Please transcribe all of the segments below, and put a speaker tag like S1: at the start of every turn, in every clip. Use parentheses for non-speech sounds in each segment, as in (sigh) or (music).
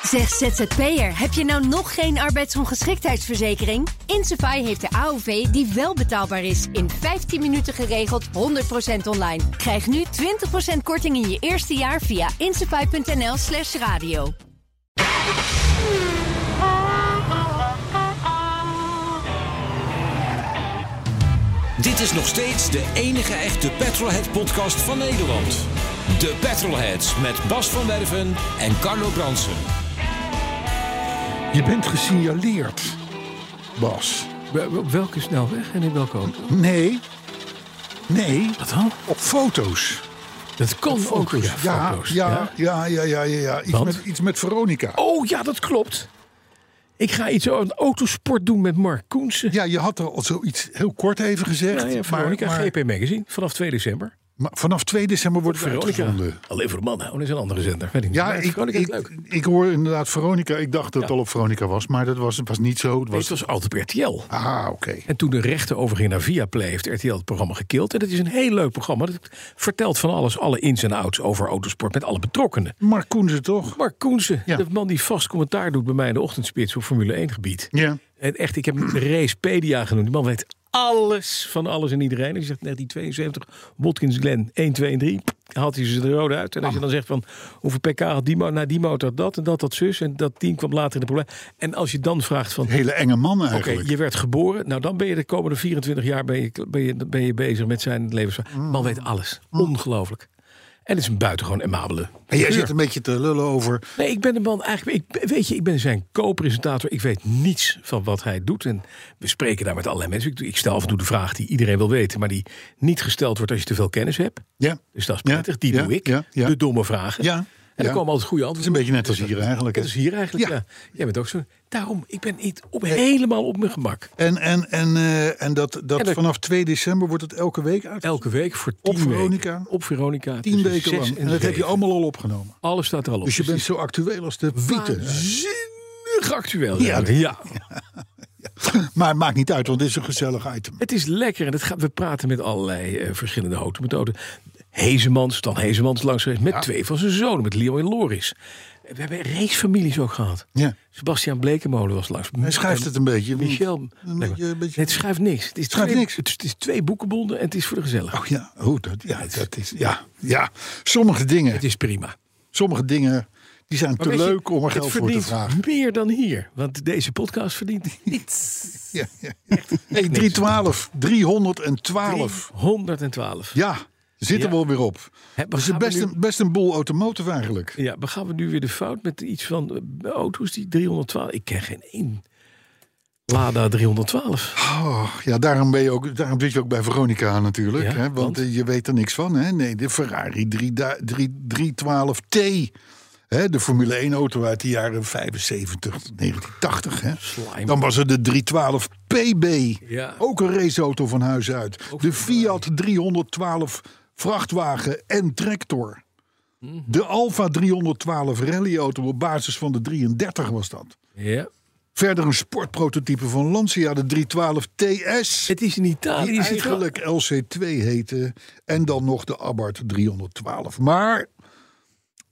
S1: Zeg ZZP'er, heb je nou nog geen arbeidsongeschiktheidsverzekering? Insafai heeft de AOV die wel betaalbaar is. In 15 minuten geregeld, 100% online. Krijg nu 20% korting in je eerste jaar via insafai.nl slash radio.
S2: Dit is nog steeds de enige echte Petrolhead-podcast van Nederland. De Petrolheads met Bas van Werven en Carlo Bransen.
S3: Je bent gesignaleerd, Bas.
S4: Wel- Op welke
S3: nou
S4: snelweg en in welke auto?
S3: Nee. Nee,
S4: Wat dan?
S3: op foto's.
S4: Dat kon ook. Ja,
S3: Ja,
S4: foto's,
S3: ja, ja, ja, ja, ja. ja. Iets,
S4: Want?
S3: met, iets met Veronica.
S4: Oh ja, dat klopt. Ik ga iets over een autosport doen met Mark Koensen.
S3: Ja, je had er al zoiets heel kort even gezegd.
S4: Nou ja, Veronica
S3: maar,
S4: GP Magazine vanaf 2 december.
S3: maar vanaf 2 december wordt het
S4: Veronica.
S3: uitgezonden.
S4: Alleen voor de mannen. Oh, dat is een andere zender. Weet ik niet.
S3: Ja,
S4: Maar
S3: ik,
S4: Veronica is
S3: ik,
S4: leuk.
S3: ik hoor inderdaad Veronica. Ik dacht dat het al op Veronica was, maar dat was, was niet zo. Het
S4: Nee, het
S3: was,
S4: was altijd op RTL.
S3: Ah, oké.
S4: En toen de rechten overging naar Viaplay heeft RTL het programma gekild. En dat is een heel leuk programma. Dat vertelt van alles, alle ins en outs over autosport met alle betrokkenen.
S3: Mark Koenzen toch?
S4: Mark Koensen,
S3: Ja.
S4: de man die vast commentaar doet bij mij in de ochtendspits op Formule 1 gebied.
S3: Ja.
S4: En echt, ik heb hem Racepedia genoemd. Die man weet alles van alles en iedereen. Hij zegt 1972, Watkins Glen 1, 2 en 3. Haalt hij ze er rode uit. En als je dan zegt van hoeveel pk had die motor, nou die motor dat en dat, dat zus. En dat team kwam later in de probleem. En als je dan vraagt van, oké,
S3: Hele enge man eigenlijk.
S4: je werd geboren. Nou dan ben je de komende 24 jaar ben je, ben je, ben je bezig met zijn levensverhaal. De Man weet alles. Ongelooflijk. En het is een buitengewoon amabele
S3: Mm. En jij
S4: figuur.
S3: zit een beetje te lullen over.
S4: Nee, ik ben de man eigenlijk. Ik, weet je, ik ben zijn co-presentator. Ik weet niets van wat hij doet. En we spreken daar met allerlei mensen. Ik, ik stel af en toe de vraag die iedereen wil weten, maar die niet gesteld wordt als je te veel kennis hebt.
S3: Ja.
S4: Dus dat is
S3: Ja,
S4: prettig. Die
S3: ja,
S4: doe ik.
S3: ja, ja.
S4: De domme vragen.
S3: Ja,
S4: En
S3: ja.
S4: er komen altijd goede
S3: Het
S4: antwoorden.
S3: is een beetje net als hier eigenlijk.
S4: Dat
S3: hè?
S4: is hier eigenlijk.
S3: Ja.
S4: Ja. Jij bent ook zo. Daarom, ik ben niet op, helemaal op mijn gemak.
S3: En, en, en, eh, en dat, dat
S4: En dat-
S3: vanaf 2 december wordt het elke week uit.
S4: Elke week voor tien
S3: Op Veronica.
S4: weken. Op Veronica.
S3: Tien
S4: tussen
S3: weken
S4: zes
S3: lang. En
S4: En
S3: dat heb je
S4: zeven.
S3: allemaal al opgenomen.
S4: Alles staat er al op.
S3: Dus je bent
S4: het
S3: zo actueel als de
S4: is
S3: pieten.
S4: waanzinnig actueel.
S3: Ja.
S4: Ja. ja.
S3: (laughs) Maar het maakt niet uit, want het is een gezellig item.
S4: Het is lekker en het gaat, we praten met allerlei eh, verschillende automethoden. Hezemans, dan Hezemans langs geweest, met twee van zijn zonen, met Leo en Loris. We hebben racefamilies ook gehad.
S3: Ja.
S4: Sebastian Blekemolen was langs.
S3: Hij schrijft het een beetje.
S4: Michel.
S3: Een
S4: Nee,
S3: beetje- een beetje-
S4: het schrijft niks. Het is,
S3: Schrijft
S4: twee,
S3: niks.
S4: Het, is, het is twee boekenbonden en het is voor de gezellig.
S3: Oh ja, oh, dat, ja, dat is, ja, ja. Sommige, dingen,
S4: Het is prima.
S3: sommige dingen die zijn te
S4: Maar weet je,
S3: leuk om er
S4: het
S3: geld voor te
S4: verdient (laughs)
S3: vragen.
S4: Meer dan hier, want deze podcast verdient niets.
S3: Ja, ja.
S4: Echt niks.
S3: 312, 312.
S4: 112.
S3: Ja, zitten we
S4: Ja.
S3: alweer op.
S4: Hè,
S3: Dat is
S4: gaan we
S3: best
S4: nu-
S3: een, best een boel automotive eigenlijk.
S4: Ja, maar gaan we nu weer de fout met iets van eh, auto's die 312... Ik ken geen één Lada 312.
S3: Oh, ja, daarom, ben je ook, daarom zit je ook bij Veronica natuurlijk.
S4: Ja,
S3: hè? Want,
S4: want?
S3: eh, je weet er niks van. Hè? Nee, de Ferrari 3 da- 3 312T. Hè? De Formule 1 auto uit de jaren 75, 1980. Hè?
S4: Slime.
S3: Dan was er de 312 PB.
S4: Ja. eh,
S3: Ook een raceauto van huis uit. de Fiat 312 vrachtwagen en tractor.
S4: Mhm.
S3: De Alfa 312 rallyauto op basis van de 33 was dat.
S4: Ja.
S3: Verder een sportprototype van Lancia, de 312 TS.
S4: Het is in Italië.
S3: Die
S4: is het wel-
S3: eigenlijk LC2 heette. En dan nog de Abarth 312. Maar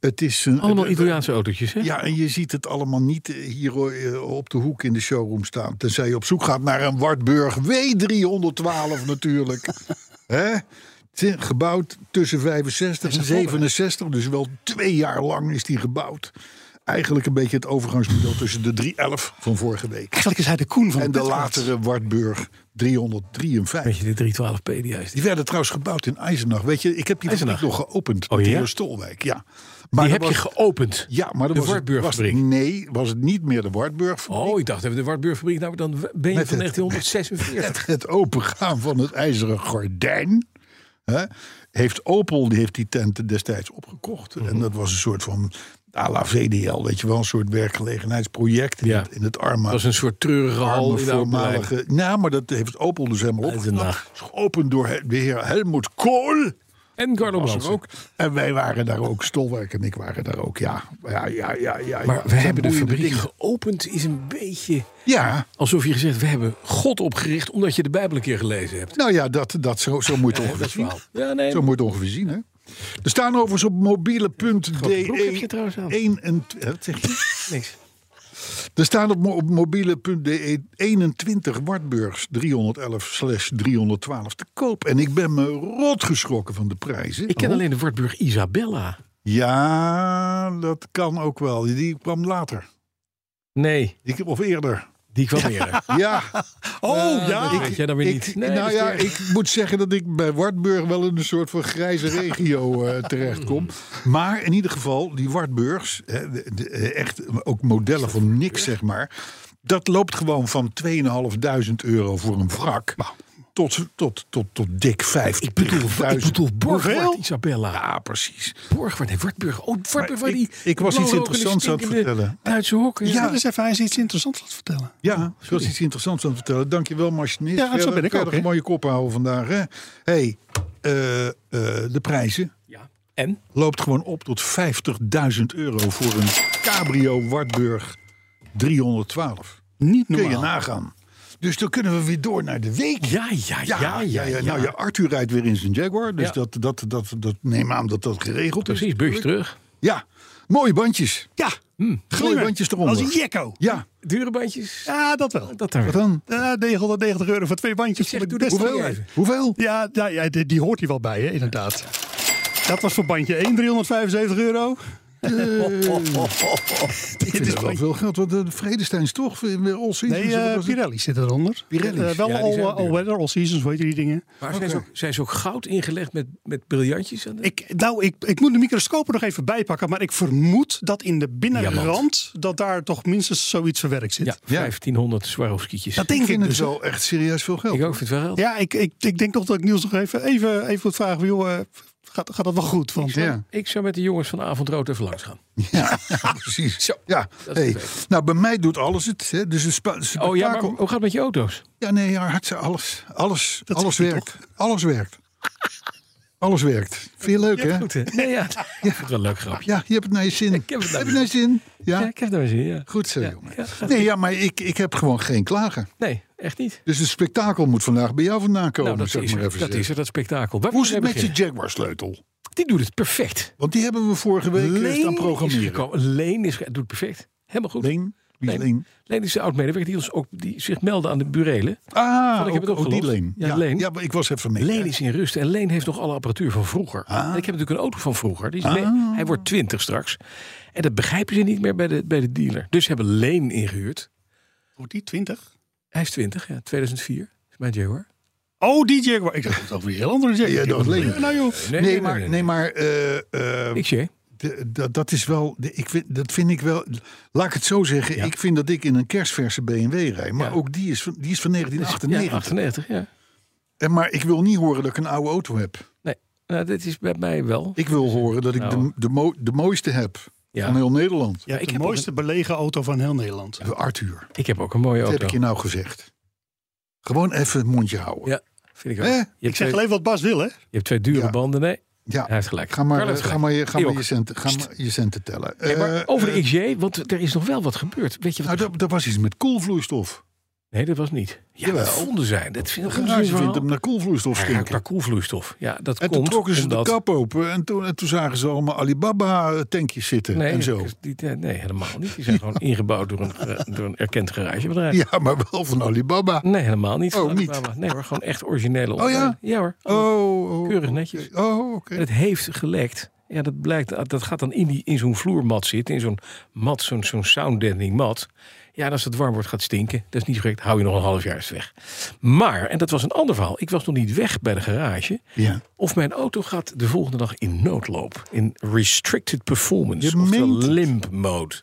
S3: het is... Een,
S4: Allemaal
S3: het-
S4: Italiaanse autootjes, hè?
S3: Ja, en je ziet het allemaal niet eh, hier eh, op de hoek in de showroom staan. Tenzij je op zoek gaat naar een Wartburg W312
S4: (laughs)
S3: natuurlijk. Hè? Het is Gebouwd tussen 65 en 67, dus wel twee jaar lang is die gebouwd. Eigenlijk een beetje het overgangsmodel tussen de 311 van vorige week.
S5: Eigenlijk is hij de Koen
S4: Oh,
S5: van
S3: En de
S5: Petrolheads.
S3: latere Wartburg 353.
S4: Weet je, de 312 PDA is die.
S3: Die werden trouwens gebouwd in IJzenach. Weet je, ik heb die
S4: IJzenach?
S3: fabriek nog geopend.
S4: Oh,
S3: met
S4: ja?
S3: Theo Stolwijk, ja. Maar
S4: Die
S3: er
S4: heb je
S3: was-
S4: geopend.
S3: Ja, maar dat
S4: de
S3: was het- was het,
S4: Wartburgfabriek.
S3: Nee, was het niet meer de Wartburg.
S4: Oh, ik dacht even de Wartburgfabriek. Nou, dan ben je
S3: Met
S4: van
S3: het-
S4: 1946.
S3: Het opengaan van het ijzeren gordijn. Hè, heeft Opel die heeft die tent destijds opgekocht.
S4: Mhm.
S3: En dat was een soort van à la VDL, weet je wel, een soort werkgelegenheidsproject in,
S4: Ja.
S3: het, in het arme
S4: Dat was een soort treurige hal
S3: arme
S4: in de voormalige...
S3: voormalige. Nou, maar dat heeft Opel dus helemaal
S4: Uit de
S3: opgeknapt.
S4: nacht.
S3: Is Geopend door he- de heer Helmoet Kool.
S4: En Carlo
S3: Was er
S4: Bransen.
S3: ook. En wij waren daar ook. Stolwerk en ik waren daar ook. Ja, ja, ja, ja. ja
S4: Maar
S3: ja.
S4: we
S3: Zijn
S4: hebben de
S3: boeiende
S4: fabriek
S3: dingen.
S4: geopend is een beetje...
S3: Ja.
S4: Alsof je gezegd, we hebben God opgericht omdat je de Bijbel een keer gelezen hebt.
S3: Nou ja, dat, dat zo, zo moet het ongeveer zien.
S4: Ja, nee.
S3: Zo moet het ongeveer zien, hè? Er staan overigens op E
S4: Grote broek heb je trouwens
S3: mobiele.de
S4: aan.
S3: 21... Wat zeg je? (laughs)
S4: Niks.
S3: Er staan op, mo- op mobiele.de 21 E Wartburgs 311-312 te koop. En ik ben me rot geschrokken van de prijzen.
S4: Ik ken alleen de Wartburg Isabella.
S3: Ja, dat kan ook wel. Die kwam later.
S4: Nee,
S3: Ik, of eerder.
S4: die kwam eerder.
S3: (laughs) Ja. Eh,
S4: Oh, ja. weet jij dan weer niet.
S3: Ik,
S4: Nee, dat
S3: nou
S4: is
S3: ja,
S4: eerder.
S3: ik moet zeggen dat ik bij Wartburg wel in een soort van grijze regio eh, terechtkom. (laughs) Maar in ieder geval, die Wartburgs, hè, de- de- eh, echt ook modellen van niks zeg maar. Dat loopt gewoon van 2.500 euro voor een wrak tot, tot, tot, tot dik 50.
S4: Ik bedoel, ik bedoel Borgward
S3: Hoeveel?
S4: Isabella.
S3: Ja, precies.
S4: Borgward, nee, Wartburg. Oh, Wartburg
S3: Maar
S4: waar
S3: ik-
S4: die...
S3: ik was iets
S4: blauwrokende,
S3: interessants aan het
S4: stinkende
S3: vertellen.
S4: Duitse hokken.
S3: Ja.
S5: Dus even, hij is iets interessants laten vertellen.
S3: Ja, zoals iets interessants aan te vertellen. Dankjewel, machinist.
S5: Oh, Ja, zo ben ik
S3: verder
S5: ook, hè.
S3: een mooie kop houden vandaag. Hé, hey, eh, eh, de prijzen
S4: Ja. En?
S3: loopt gewoon op tot 50.000 euro voor een Cabrio Wartburg 312.
S5: Niet
S3: Kun je
S5: normaal.
S3: nagaan. Dus dan kunnen we weer door naar de week.
S4: Ja, ja, ja, ja. ja,
S3: Nou ja, Arthur rijdt weer in zijn Jaguar. Dus
S4: Ja.
S3: dat, dat, dat, dat neem aan dat dat geregeld is.
S4: Precies, busje terug.
S3: Ja, mooie bandjes.
S5: Ja,
S4: Hmm.
S3: Mooie bandjes eronder.
S5: Als een jekko.
S3: Ja,
S4: Dure bandjes.
S5: Ja, dat wel.
S4: Dat daar.
S3: wat dan?
S5: Eh, 990 euro voor twee bandjes.
S4: zeg,
S5: vond ik
S4: doe
S5: best
S4: dat
S5: wel
S3: Hoeveel?
S4: even.
S3: Hoeveel?
S5: Ja, ja, ja, die, die hoort hier wel bij, hè, inderdaad. Dat was voor bandje 1, 375 euro. Eh,
S4: (laughs)
S3: Ik
S5: Dit
S3: vind
S5: is
S3: dat wel
S5: bandje-
S3: veel geld, want de Vredesteins toch? weer All Seasons,
S5: Nee,
S3: of wat
S5: eh,
S3: was het?
S5: Pirelli zit eronder.
S3: Pirelli's.
S5: Eh, wel
S4: Ja, die
S5: all,
S4: zijn
S5: eh, all
S4: duur.
S5: weather, all seasons, weet je die dingen.
S4: Maar zijn, ze ook, zijn ze ook goud ingelegd met, met briljantjes? Aan de...
S5: Ik, nou, ik, ik moet de microscoop er nog even bij pakken. Maar ik vermoed dat in de binnenrand... dat daar toch minstens zoiets verwerkt zit.
S4: ja, 1500 Swarovskietjes.
S5: Dat
S3: Ik
S5: denk
S3: vind
S5: ik
S3: het
S5: dus. hè.
S3: wel echt serieus veel geld.
S4: Ik ook vind het wel geld.
S5: Ja, ik, ik, ik denk toch dat ik Niels nog even, even, even moet vragen. van, Joh, eh, gaat, gaat dat wel goed? Want, eh,
S3: Ja,
S4: Ik zou met de jongens van Avondrood even langs gaan.
S3: (laughs) ja, precies.
S4: Zo,
S3: ja.
S4: dat is
S3: Hey.
S4: perfect.
S3: Nou, bij mij doet alles het. Hè. Dus het spa- spektakel-
S4: Oh ja, maar hoe gaat het met je auto's?
S3: Ja, nee, ja, hartstikke alles. Alles,
S5: Dat
S3: alles
S5: zeg je
S3: werkt. Alles werkt. Alles werkt. Vind je leuk, hè?
S4: Goed, hè? Nee, ja. Ik vind het wel een leuk grapje.
S3: Ja, je hebt het naar je zin.
S4: heb het naar
S3: Heb je naar je zin?
S4: Ja,
S3: Ja,
S4: ik heb daar zin in, ja.
S3: goed zo,
S4: Ja,
S3: jongen.
S4: ja,
S3: Nee, ja, maar ik, ik heb gewoon geen klagen.
S4: Nee, echt niet.
S3: Dus het spektakel moet vandaag bij jou vandaan
S4: Nou,
S3: komen,
S4: dat,
S3: zeg
S4: is,
S3: maar
S4: er,
S3: even
S4: dat
S3: zeggen.
S4: is er, dat spektakel. Waar
S3: Hoe is
S4: moeten
S3: het
S4: we
S3: met je
S4: beginnen?
S3: Jaguar-sleutel?
S4: Die doet het perfect.
S3: Want die hebben we vorige week eh, staan
S4: is
S3: programmeren.
S4: gekomen. Leen is ge- doet perfect. Helemaal goed.
S3: Leen? Wie is
S4: Leen.
S3: Leen?
S4: Leen is de oud-medewerker die, ons ook- die zich meldde aan de burelen.
S3: Ah,
S4: ik heb het
S3: ook- ook die
S4: opgelost.
S3: Leen.
S4: Ja, Leen.
S3: ja, maar ik was even mee.
S4: Leen is in rust en Leen heeft nog alle apparatuur van vroeger.
S3: Ah.
S4: En ik heb natuurlijk een auto van vroeger. Die is Leen- hij wordt 20 straks. En dat begrijpen ze niet meer bij de, bij de dealer. Dus ze hebben Leen ingehuurd.
S5: Wordt die 20?
S4: Hij is 20, ja, 2004. Is mijn Jaguar.
S5: Oh, die Jaguar. Ik dacht dat het over die heel andere Jaguar.
S3: Ja, dat leek me.
S5: Nou joh.
S3: Nee, maar, Nee, maar eh, eh,
S4: Ik zie.
S3: de- dat- dat is wel. de- ik vind, dat vind ik wel. Laat ik het zo zeggen. Ik vind dat ik in een kerstverse BMW rijd. Maar
S4: Ja.
S3: ook die is van, die is van
S4: Ja,
S3: 1998.
S4: 98, ja.
S3: En maar ik wil niet horen dat ik een oude auto heb.
S4: Nee, nou, dit is bij mij wel.
S3: Ik wil horen dat ik
S4: Nou.
S3: de, de, mo- de mooiste heb
S4: Ja.
S3: van heel Nederland.
S5: Ja,
S4: ik
S5: de
S4: heb
S5: mooiste belegen auto van heel Nederland.
S3: De Arthur.
S4: Ik heb ook een mooie
S3: Wat
S4: auto.
S3: heb ik je nou gezegd? Gewoon even het mondje houden. Ja.
S4: Ja, vind ik ook.
S3: Hè? Eh,
S4: Je
S3: Ik
S4: hebt,
S5: Ik zeg
S4: twee,
S5: alleen wat Bas wil, hè?
S4: je hebt twee dure
S3: Ja.
S4: banden. Nee, hij heeft gelijk.
S3: Ga maar, eh,
S4: Carlo heeft
S3: ga
S4: gelijk.
S3: maar, je, ga
S4: Ik
S3: maar
S4: ook.
S3: je, centen, ga maar je centen tellen.
S4: Nee, maar
S3: Eh,
S4: over
S3: eh,
S4: de XJ, want er is nog wel wat gebeurd. Weet je wat?
S3: Nou,
S4: er-
S3: dat, dat was iets met koelvloeistof.
S4: Nee, dat was niet. Ja,
S3: Jawel.
S4: dat vonden zij. Dat vind ik een
S3: Garage vindt hem
S4: verhaal.
S3: naar koelvloeistof
S4: Hij ruikt
S3: stinken.
S4: naar koelvloeistof. Ja, dat
S3: En toen
S4: komt
S3: trokken ze
S4: omdat...
S3: de kap open en toen, en toen zagen ze allemaal Alibaba-tankjes zitten
S4: Nee,
S3: en zo.
S4: dat is niet- eh, nee, helemaal niet. Die zijn gewoon ingebouwd door een, eh, door een erkend garagebedrijf.
S3: (laughs) Ja, maar wel van Alibaba.
S4: Nee, helemaal niet.
S3: Oh,
S4: Van
S3: niet.
S4: Alibaba. Nee hoor, gewoon echt originele
S3: ja?
S4: ontwerpen. Ja hoor.
S3: Oh, oh,
S4: Keurig netjes.
S3: Oh, oké.
S4: En het heeft gelekt. Ja, dat, blijkt, ah, dat gaat dan in, die, in zo'n vloermat zitten. In zo'n mat, zo'n zo'n sounddeadening mat. Ja, en als het warm wordt gaat stinken. Dat is niet correct. Hou je nog een half jaar eens weg. Maar, en dat was een ander verhaal. Ik was nog niet weg bij de garage.
S3: Ja.
S4: Of mijn auto gaat de volgende dag in noodloop. In restricted performance.
S3: Je
S4: Oftewel
S3: meent het.
S4: limp mode.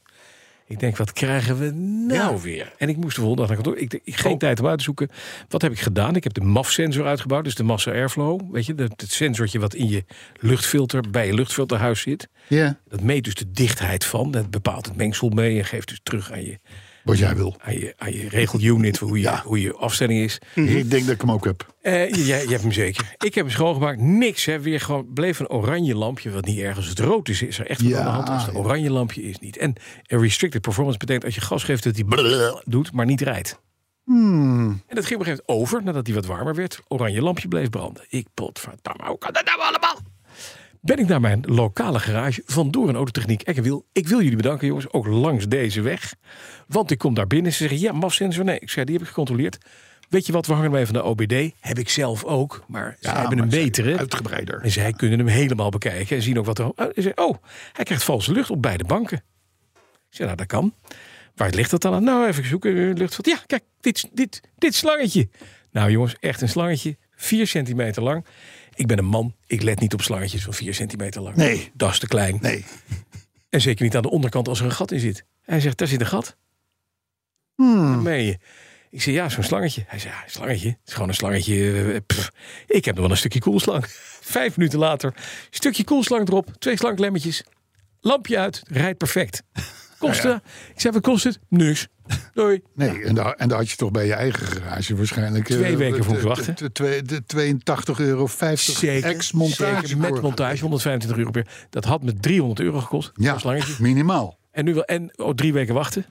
S4: Ik denk, wat krijgen we nou weer? Oh. En ik moest de volgende dag naar kantoor. Ik, denk, geen tijd om uit te zoeken. Wat heb ik gedaan? Ik heb de MAF-sensor uitgebouwd. Dus de massa airflow. Weet je, dat, het sensortje wat in je luchtfilter, bij je luchtfilterhuis zit.
S3: Ja,
S4: Dat meet dus de dichtheid van. Dat bepaalt het mengsel mee en geeft dus terug aan je,
S3: wat jij wil.
S4: aan je, aan je regelunit. Voor hoe je, hoe je afstelling is.
S3: Ik denk dat ik hem ook heb.
S4: Eh, je, je hebt hem zeker. Ik heb hem schoongemaakt. Niks. Hè. Weer gewoon, bleef een oranje lampje. Wat niet erg als het rood is. Is er echt wat
S3: Ja,
S4: aan de hand. Als het
S3: ja.
S4: een oranje lampje is niet. En een restricted performance betekent als je gas geeft dat hij blrrr (laughs) doet, maar niet rijdt.
S3: Hmm.
S4: En dat ging op een gegeven moment over nadat hij wat warmer werd. Oranje lampje bleef branden. Ik potverdamme, hoe kan dat nou allemaal? ben ik naar mijn lokale garage van Doorn Autotechniek Eckenwiel. Ik wil jullie bedanken, jongens, ook langs deze weg. Want ik kom daar binnen. Ze zeggen, ja, MAF-sensor. Nee, ik zei, die heb ik gecontroleerd. Weet je wat, we hangen hem even van de OBD. Heb ik zelf ook, maar ze hebben
S3: Ah, maar
S4: een
S3: zij-
S4: betere.
S3: Uitgebreider.
S4: En zij kunnen hem helemaal bekijken en zien ook wat er... Oh, en zei, oh, hij krijgt valse lucht op beide banken. Ik zei, nou, dat kan. Waar ligt dat dan aan? Nou, even zoeken. Eh, Luchtvat. Ja, kijk, dit, dit, dit slangetje. Nou jongens, echt een slangetje. 4 centimeter lang. Ik ben een man. Ik let niet op slangetjes van 4 centimeter lang.
S3: Nee.
S4: Dat is te klein.
S3: Nee.
S4: En zeker niet aan de onderkant als er een gat in zit. Hij zegt, daar zit een gat.
S3: Hmm.
S4: Wat meen je? Ik zei, ja, zo'n slangetje. Hij zei, ja, een slangetje. Het is gewoon een slangetje. eh, pff. Ik heb nog wel een stukje koelslang. (laughs) Vijf minuten later, stukje koelslang erop. Twee slanglemmetjes. Lampje uit. Rijdt perfect. Kostte, ik zei, wat kost het? Niks. Doei.
S3: Nee, en daar, en daar had je toch bij je eigen garage waarschijnlijk... eh,
S4: Twee weken voor
S3: de-
S4: moeten wachten.
S3: de- de- de 82,50 euro ex-montage.
S4: Zeker, met
S3: voor-
S4: montage, 125 euro per. Dat had me 300 euro gekost.
S3: Ja,
S4: Zo'n slangetje.
S3: minimaal.
S4: En nu wel, en oh, drie weken wachten.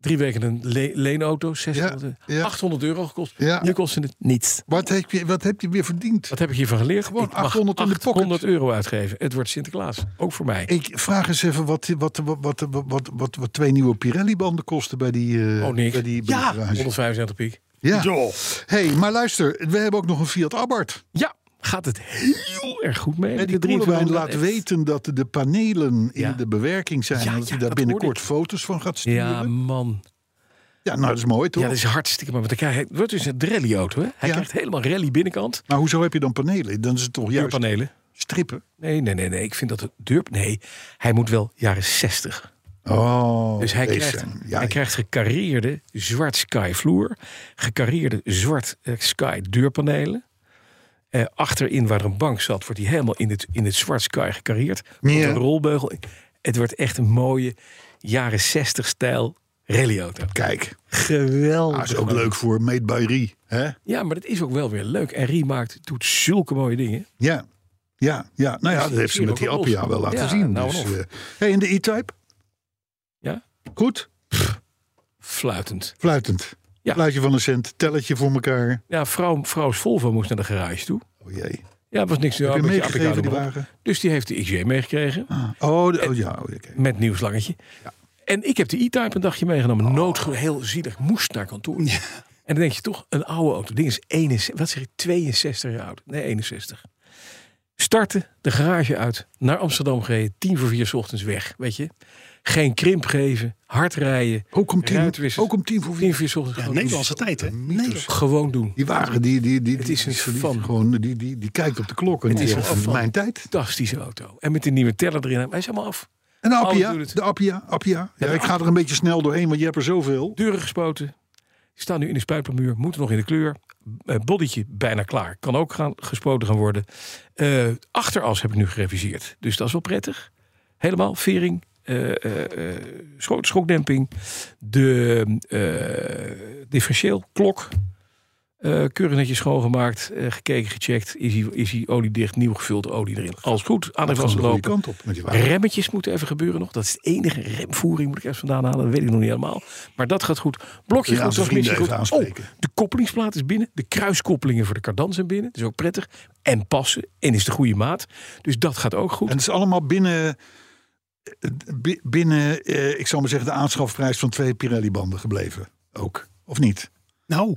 S4: Drie weken een le- leenauto, 600,
S3: Ja, ja.
S4: 800 euro gekost.
S3: Ja.
S4: Nu kosten het niets.
S3: Wat heb je, wat heb je weer verdiend?
S4: Wat heb ik hiervan geleerd?
S3: Gewoon
S4: ik mag
S3: 800 in de pocket.
S4: 800 euro uitgeven. Het wordt Sinterklaas. Ook voor mij.
S3: Ik vraag eens even wat, wat, wat, wat, wat, wat, wat twee nieuwe Pirelli-banden kosten bij die, eh,
S4: oh, niks.
S3: bij die, bij
S4: ja,
S3: die garage.
S4: 175 piek.
S3: Ja. hey, maar luister, we hebben ook nog een Fiat Abarth.
S4: Ja, gaat het heel erg goed mee.
S3: En die
S4: De 23
S3: Koelewijn laat
S4: echt.
S3: weten dat de panelen in
S4: Ja.
S3: de bewerking zijn.
S4: Ja,
S3: en dat
S4: ja,
S3: hij daar
S4: dat
S3: binnenkort
S4: hoorde
S3: foto's van gaat sturen.
S4: Ja,
S3: Ja,
S4: man.
S3: nou, dat is mooi toch?
S4: Ja, dat is hartstikke mooi. Want hij krijgt- het wordt dus een rallyauto. Hè? Hij
S3: Ja.
S4: krijgt helemaal rally binnenkant.
S3: Maar hoezo heb je dan panelen? Dan is het toch juist
S4: Deurpanelen.
S3: strippen?
S4: Nee, nee, nee, nee. Ik vind dat het duur. Nee, hij moet wel jaren 60.
S3: Oh,
S4: Dus hij
S3: deze.
S4: krijgt,
S3: Ja,
S4: hij krijgt gekarreerde zwart skyvloer, gekarreerde zwart eh, sky deurpanelen. Eh, achterin waar een bank zat, wordt hij helemaal in het, in het zwart sky gekarreerd. Met
S3: Ja.
S4: een rolbeugel. Het wordt echt een mooie jaren 60 stijl rallyauto.
S3: Kijk,
S4: Geweldig.
S3: dat is ook leuk voor Made by Rie. Hè?
S4: Ja, maar dat is ook wel weer leuk. En Riemaakt doet zulke mooie dingen.
S3: Ja. Ja, ja, nou ja,
S4: Dus
S3: dat heeft ze
S4: hier
S3: met
S4: ook
S3: die
S4: een
S3: Appia
S4: los.
S3: wel laten
S4: Ja,
S3: zien.
S4: nou
S3: dus,
S4: en of.
S3: eh, hey, en de E-Type?
S4: Ja.
S3: Goed,
S4: Fluitend.
S3: fluitend.
S4: Ja.
S3: Fluitje van een cent, telletje voor elkaar.
S4: Ja, vrouw, vrouw Volvo moest naar de garage toe.
S3: Oh jee.
S4: Ja, was niks.
S3: Heb
S4: ja,
S3: je
S4: een
S3: hem
S4: beetje
S3: meegegeven, die
S4: applicado erop.
S3: wagen?
S4: Dus die heeft de XJ meegekregen.
S3: Oh, de- oh ja, oh, oké.
S4: Met nieuw slangetje. En ik heb de E-Type een dagje meegenomen. Nood, heel zielig, moest naar kantoor. En dan denk je toch, een oude auto. Ding is 61, wat zeg ik, 62 jaar oud. Nee, 61. Starten, de garage uit, naar Amsterdam gereden. Tien voor vier 's ochtends weg, weet je. Geen krimp geven, hard rijden.
S3: Ook om tien,
S4: Ruitwissers.
S3: ook om tien voor
S4: Tien
S3: vier.
S4: voor vier 's ochtends.
S5: Ja,
S4: gewoon doen.
S5: Nederlandse tijd, hè? Nederlandse.
S4: Gewoon doen.
S3: Die wagen, die, die, die,
S4: Het
S3: die-
S4: is
S3: die-
S4: een
S3: die-
S4: fan.
S3: Gewoon, die, die, die kijkt op de klok en
S4: Het
S3: die
S4: is
S3: zegt,
S4: een fan.
S3: mijn tijd.
S4: Fantastische auto. En met de nieuwe teller erin. Hij is helemaal af.
S3: En de Appia,
S4: Alles doet Oh, het.
S3: de Appia, Appia. Ja, ik ga er een beetje snel doorheen, want je hebt er zoveel.
S4: Deuren gespoten. Staan nu in de spuitplamuur. Moeten nog in de kleur. Eh, Bodytje bijna klaar. Kan ook gaan, gespoten gaan worden. Eh, achteras heb ik nu gereviseerd. Dus dat is wel prettig. Helemaal vering. eh, eh, eh, scho- schokdemping. De eh, differentieel. Klok. eh keurig netjes schoongemaakt. eh, gekeken, gecheckt. Is hij, is hij oliedicht? Nieuw gevuld olie erin. Alles goed. Aan de
S3: Van
S4: vast
S3: de goede
S4: lopen.
S3: kant op met die wagen.
S4: Remmetjes moeten even gebeuren nog. Dat is het enige remvoering moet ik even vandaan halen. Dat weet ik nog niet helemaal. Maar dat gaat goed. Blokje
S3: We gaan
S4: goed,
S3: zijn vrienden
S4: transmissie goed.
S3: even
S4: Oh,
S3: aanspreken.
S4: de koppelingsplaat is binnen. De kruiskoppelingen voor de kardan zijn binnen. Dat is ook prettig. En passen. En is de goede maat. Dus dat gaat ook goed.
S3: En het is allemaal binnen, eh, bi- binnen eh, ik zal maar zeggen, de aanschafprijs van twee Pirelli-banden gebleven. Ook. Of niet?
S5: Nou,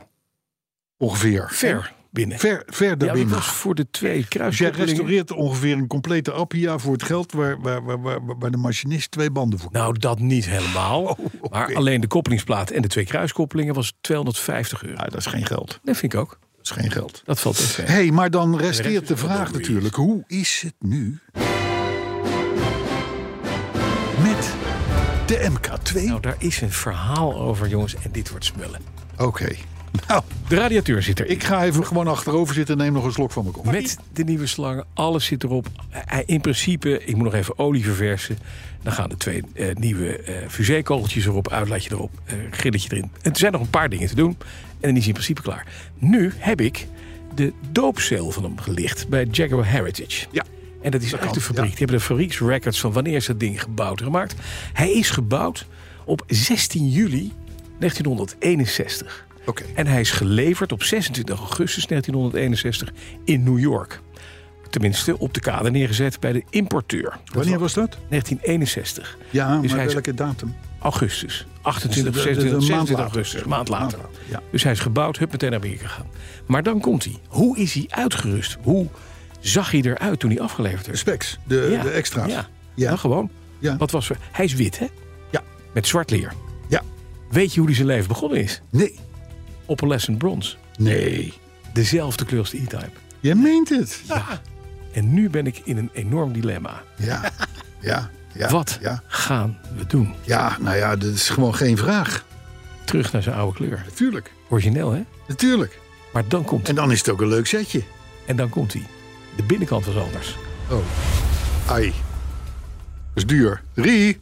S3: Ongeveer.
S4: ver binnen.
S3: Ver, ver
S4: ja, dat
S3: daarbinnen.
S4: was voor de twee
S3: dus jij
S4: kruiskoppelingen.
S3: restaureert ongeveer een complete Appia voor het geld waar, waar, waar, waar, waar de machinist twee banden voor
S4: Nou, dat niet helemaal.
S3: Oh, oké.
S4: Maar alleen de koppelingsplaat en de twee kruiskoppelingen was 250 euro.
S3: Ja, dat is geen geld.
S4: Nou, Dat vind ik ook.
S3: Dat is geen geld.
S4: Dat valt best mee.
S3: Hé, hey, maar dan
S4: De
S3: resteert
S4: rest
S3: de
S4: is wel
S3: vraag
S4: door,
S3: natuurlijk. Hoe is het nu met de MK2?
S4: Nou, daar is een verhaal over, jongens. En dit wordt smullen.
S3: Oké. (laughs) Nou,
S4: De radiateur zit erin.
S3: ik ga even gewoon achterover zitten en neem nog een slok van mijn kop.
S4: Met de nieuwe slangen, alles zit erop. Eh, In principe, ik moet nog even olie verversen. Dan gaan de twee eh, nieuwe eh fusékogeltjes erop, uitlaatje erop, eh, grilletje erin. En er zijn nog een paar dingen te doen. En dan is hij in principe klaar. Nu heb ik de doopcel van hem gelicht bij Jaguar Heritage.
S3: Ja.
S4: En dat is uit de fabriek. Die hebben de fabrieksrecords van wanneer is dat ding gebouwd en gemaakt. Hij is gebouwd op 16 juli 1961.
S3: Oké.
S4: En hij is geleverd op 26 augustus 1961 in New York. tenminste op de kade neergezet bij de importeur. Dat
S3: Wanneer was
S4: was
S3: dat?
S4: 1961.
S3: Ja,
S4: dus hij
S3: maar
S4: is
S3: welke datum?
S4: augustus. 28,
S3: Dus de- de- de
S4: 26,
S3: maand
S4: 27
S3: later.
S4: augustus, een maand
S3: Maand
S4: later.
S3: later, ja.
S4: Dus hij is gebouwd, hup, meteen naar Amerika gegaan. Maar dan komt hij. Hoe is hij uitgerust? Hoe zag hij eruit toen hij afgeleverd
S3: De
S4: werd?
S3: specs, de,
S4: Ja,
S3: eh, de extra's.
S4: Ja,
S3: Ja.
S4: Nou, gewoon.
S3: Ja.
S4: Wat was, hij is wit, hè?
S3: Ja.
S4: Met zwart leer.
S3: Ja.
S4: Weet je hoe hij zijn leven begonnen is?
S3: Nee.
S4: Op een lesson bronze.
S3: Nee.
S4: Dezelfde kleur als de E-Type.
S3: Je meent het.
S4: En nu ben ik in een enorm dilemma.
S3: Ja. Ja. ja.
S4: Wat
S3: Ja.
S4: gaan we doen?
S3: ja, nou ja, dat is gewoon geen vraag.
S4: Terug naar zijn oude kleur.
S3: Natuurlijk.
S4: Origineel, hè?
S3: Natuurlijk.
S4: Maar dan komt
S3: En dan is het ook een leuk setje.
S4: En dan komt hij. De binnenkant was anders.
S3: Ai. Dat is duur.
S4: (laughs)
S3: Rie.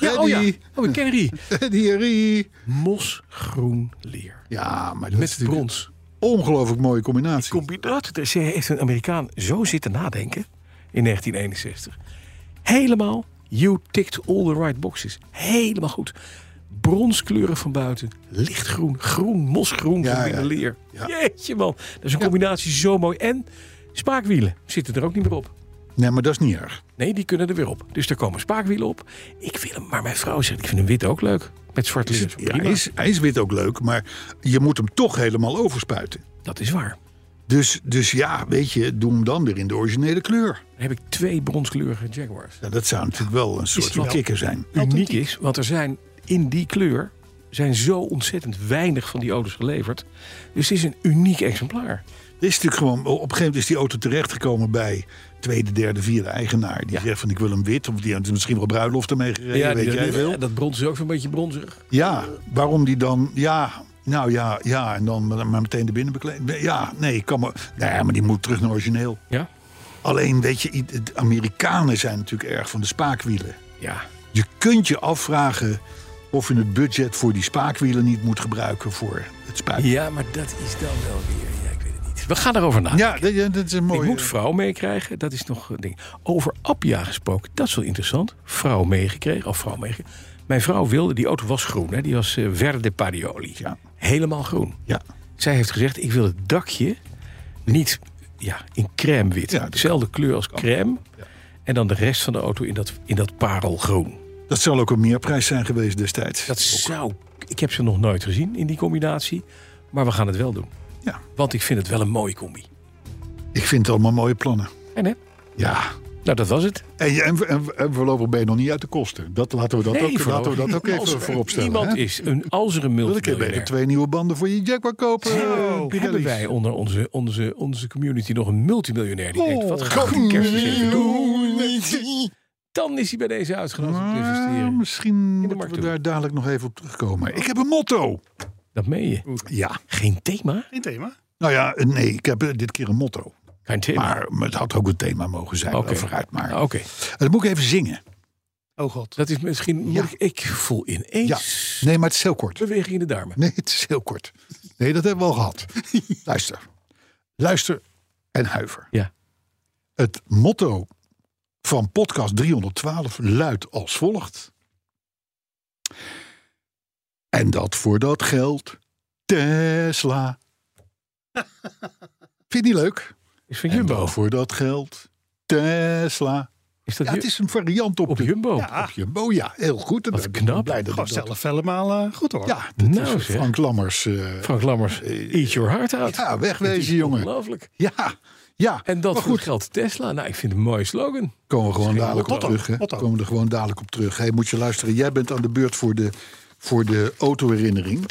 S3: ja,
S4: oh ja, oh, ik ken Rie.
S3: Die Rie.
S4: Mosgroen leer.
S3: Ja, maar dat is
S4: Met
S3: natuurlijk
S4: brons.
S3: een ongelooflijk mooie combinatie.
S4: Combinatie. Dus heeft een Amerikaan zo zitten nadenken in 1961. Helemaal, you ticked all the right boxes. Helemaal goed. Bronskleuren van buiten, lichtgroen, groen, mosgroen
S3: Ja,
S4: van binnen
S3: ja.
S4: leer.
S3: Ja.
S4: Jeetje man, dat is een combinatie zo mooi. En spaakwielen zitten er ook niet meer op.
S3: Nee, maar dat is niet erg.
S4: Nee, die kunnen er weer op. Dus er komen spaakwielen op. Ik wil hem, maar mijn vrouw zegt, ik vind hem wit ook leuk. Met zwart
S3: Is
S4: leer.
S3: het- ja,
S4: Prima.
S3: hij, is, hij is wit ook leuk, maar je moet hem toch helemaal overspuiten.
S4: Dat is waar.
S3: Dus, dus ja, weet je, doe hem dan weer in de originele kleur.
S4: Dan heb ik twee bronskleurige Jaguars.
S3: Ja, dat zou natuurlijk wel een soort
S4: het
S3: van
S4: wel-
S3: kikker zijn.
S4: Uniek is, want er zijn in die kleur zijn zo ontzettend weinig van die auto's geleverd. Dus het is een uniek exemplaar.
S3: Er is natuurlijk gewoon, op een gegeven moment is die auto terechtgekomen bij tweede, derde, vierde eigenaar. Die zegt van ik wil hem wit, of die heeft misschien wel bruiloft ermee gereden, weet
S4: die-
S3: jij veel.
S4: dat brons is ook zo'n beetje bronzig.
S3: Ja, waarom die dan, ja, nou ja, ja, en dan maar meteen de binnenbekleding. Ja, nee, kan maar, nee, maar die moet terug naar origineel.
S4: Ja?
S3: Alleen, weet je, i- de Amerikanen zijn natuurlijk erg van de spaakwielen.
S4: Ja.
S3: Je kunt je afvragen of je het budget voor die spaakwielen niet moet gebruiken voor het spuiten.
S4: Ja, maar dat is dan wel weer... Ja, ik weet het niet. We gaan erover na.
S3: Ja, eh. dat- ja, dat is een
S4: Ik
S3: mooie...
S4: moet vrouw meekrijgen, dat is nog een ding. Over Appia gesproken, dat is wel interessant. Vrouw meegekregen, of vrouw meegekregen. Mijn vrouw wilde, die auto was groen, hè? die was eh, Verde Parioli.
S3: Ja.
S4: Helemaal groen.
S3: Ja,
S4: Zij heeft gezegd, ik wil het dakje niet ja, in crème wit.
S3: Ja, dat
S4: Dezelfde kleur als crème. En dan de rest van de auto in dat, in dat parelgroen.
S3: dat zal ook een meerprijs zijn geweest destijds.
S4: Dat zou... Ik heb ze nog nooit gezien in die combinatie. Maar we gaan het wel doen.
S3: Ja.
S4: Want ik vind het wel een mooie combi.
S3: Ik vind het allemaal mooie plannen.
S4: En hè?
S3: Ja.
S4: Nou, dat was het.
S3: En, je- en, en, en voorlopig ben je nog niet uit de kosten. Dat laten we dat ook, laten we
S4: voorlopig
S3: dat
S4: niet.
S3: ook
S4: Als
S3: even
S4: er
S3: vooropstellen.
S4: Iemand
S3: hè?
S4: is een, als er een
S3: Wil ik even
S4: multimiljonair...
S3: twee nieuwe banden voor je Jaguar kopen? eh, Pirelli's?
S4: Hebben wij onder onze, onze, onze community nog een multimiljonair die denkt...
S3: Oh,
S4: wat gaat die kerstmis doen?
S3: Community.
S4: Dan is hij bij deze uitgenodigd om te
S3: Maar
S4: investeren.
S3: Ah, Misschien moeten
S4: markt
S3: we
S4: toe.
S3: daar dadelijk nog even op terugkomen. Ik heb een motto.
S4: Dat meen je.
S3: Ja.
S4: Geen thema?
S5: Geen thema.
S3: Nou ja, nee, ik heb eh, dit keer een motto.
S4: Geen thema.
S3: Maar het had ook een thema mogen zijn.
S4: Oké.
S3: wel Vooruit maar.
S4: Ah, Oké,
S3: Dat moet ik even zingen.
S5: Oh god.
S4: dat is misschien... moet
S3: Ja.
S4: ik, ik voel ineens
S3: Ja. Nee, maar het is heel kort.
S4: beweging in de darmen.
S3: Nee, het is heel kort. Nee, dat hebben we al
S4: (laughs)
S3: gehad. Luister. Luister en huiver.
S4: Ja.
S3: Het motto van podcast 312 luidt als volgt. En dat voor dat geld
S4: (laughs)
S3: Tesla. Vind je die leuk?
S4: Is van
S3: En
S4: Jumbo.
S3: dat voor dat geld Tesla.
S4: Is dat
S3: Ja,
S4: Ju-
S3: het is een variant op,
S4: op
S3: de,
S4: Jumbo?
S3: (laughs) op Jumbo. Ja, heel goed.
S4: Wat
S3: ik
S4: knap.
S3: blij dat
S5: Gewoon
S3: ik dat-
S5: zelf helemaal eh, goed hoor.
S3: Ja, dat
S4: Nou,
S3: is
S4: zeg.
S3: Frank Lammers. eh,
S4: Frank Lammers, eat your heart out.
S3: Ja,
S4: Het is
S3: wegwezen, jongen.
S4: Ongelooflijk.
S3: Ja, ja.
S4: En dat
S3: maar
S4: goed
S3: goed,
S4: geldt Tesla. Nou, ik vind het een mooie slogan.
S3: komen we gewoon dadelijk op
S5: Otto,
S3: terug. Hè.
S5: Otto.
S3: Komen we er gewoon dadelijk op terug. Hey, moet je luisteren, jij bent aan de beurt voor de, voor de autoherinnering.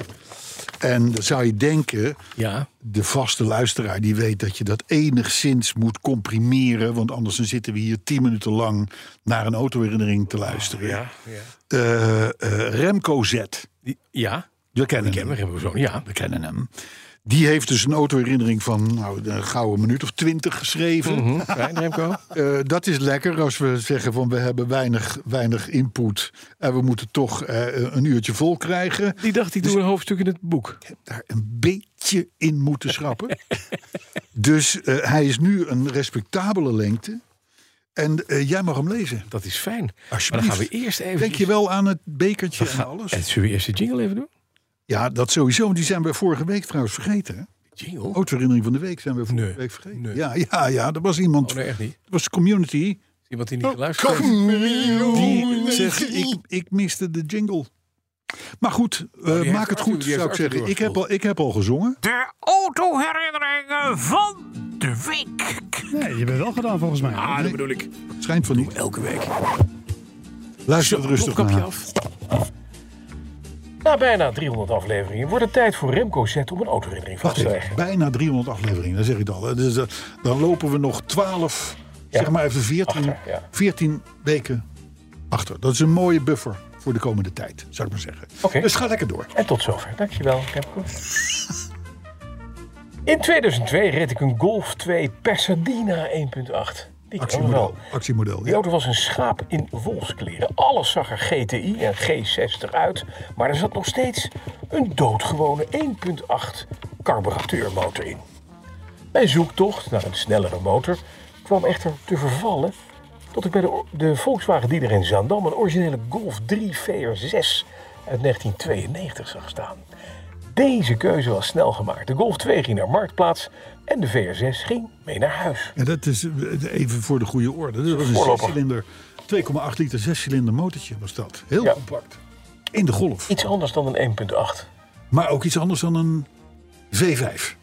S3: En dan zou je denken,
S4: Ja,
S3: de vaste luisteraar die weet dat je dat enigszins moet comprimeren. Want anders dan zitten we hier tien minuten lang naar een autoherinnering
S4: Oh,
S3: te luisteren. Eh, eh, Remco Z,
S4: Die- ja.
S3: we kennen
S4: Ken
S3: hem.
S4: we hebben zo'n ja.
S3: We kennen hem. Die heeft dus een autoherinnering van nou, een gouden minuut of twintig geschreven.
S4: Hm, fijn, Remco.
S3: Eh, dat is lekker als we zeggen van we hebben weinig, weinig input en we moeten toch eh, een uurtje vol krijgen.
S4: Die dacht, ik doe een hoofdstuk in het boek.
S3: Daar een beetje in moeten
S4: (laughs)
S3: schrappen. dus eh, hij is nu een respectabele lengte. En eh, jij mag hem lezen.
S4: Dat is fijn. Maar
S3: Alsjeblieft.
S4: dan gaan we eerst even...
S3: Denk je wel aan het bekertje
S4: We gaan-
S3: en alles?
S4: En zullen we eerst de jingle even doen?
S3: Ja, dat sowieso. want Die zijn we vorige week trouwens vergeten. hè?
S4: Jingle?
S3: Autoherinnering van de week zijn we vorige
S4: Nee.
S3: week vergeten.
S4: Nee.
S3: Ja, ja, ja. Er was iemand.
S4: Oh, nee, echt niet.
S3: Er was community.
S4: Is Iemand die niet
S3: Oh,
S4: geluisterd heeft.
S3: Die zegt, ik, ik miste de jingle. Maar goed, eh,
S4: heeft
S3: maak het
S4: Arthur-
S3: goed, zou
S4: Oh, die
S3: ik
S4: heeft Arthur
S3: zeggen. Ik heb, al, ik heb al gezongen.
S6: De autoherinneringen van de week.
S5: Nee, je bent wel gedaan volgens mij.
S4: Ah, dat bedoel ik.
S3: Het schijnt van niet.
S4: Elke week.
S3: Luister het rustig
S4: Kopkapje
S3: naar.
S4: af. Na bijna 300 afleveringen wordt het tijd voor Remco Z om een autoherinnering vast
S3: Wacht
S4: te
S3: even,
S4: leggen.
S3: bijna 300 afleveringen, dan zeg ik het al. Dus, eh, dan lopen we nog 12, zeg maar even 14,
S4: Achter, ja.
S3: 14 weken achter. Dat is een mooie buffer voor de komende tijd, zou ik maar zeggen.
S4: Oké.
S3: Dus ga lekker door.
S4: En tot zover. Dankjewel, Remco. In 2002 reed ik een Golf 2 Pasadena 1.8. Die kan wel.
S3: Actiemodel, actiemodel.
S4: Die
S3: Ja.
S4: auto was een schaap in wolfskleren. Alles zag er GTI en G60 uit, maar er zat nog steeds een doodgewone 1.8 carburateurmotor in. Mijn zoektocht naar een snellere motor kwam echter te vervallen tot ik bij de, de Volkswagen dealer in Zaandam een originele Golf 3 VR6 uit 1992 zag staan. Deze keuze was snel gemaakt. De Golf 2 ging naar marktplaats en de VR6 ging mee naar huis.
S3: En dat is eh, even voor de goede orde. Dat was een
S4: Voorlopig.
S3: zescilinder, 2,8 liter zescilinder motortje was dat. Heel
S4: Ja.
S3: compact. In de Golf.
S4: Iets anders dan een 1.8.
S3: Maar ook iets anders dan een V5.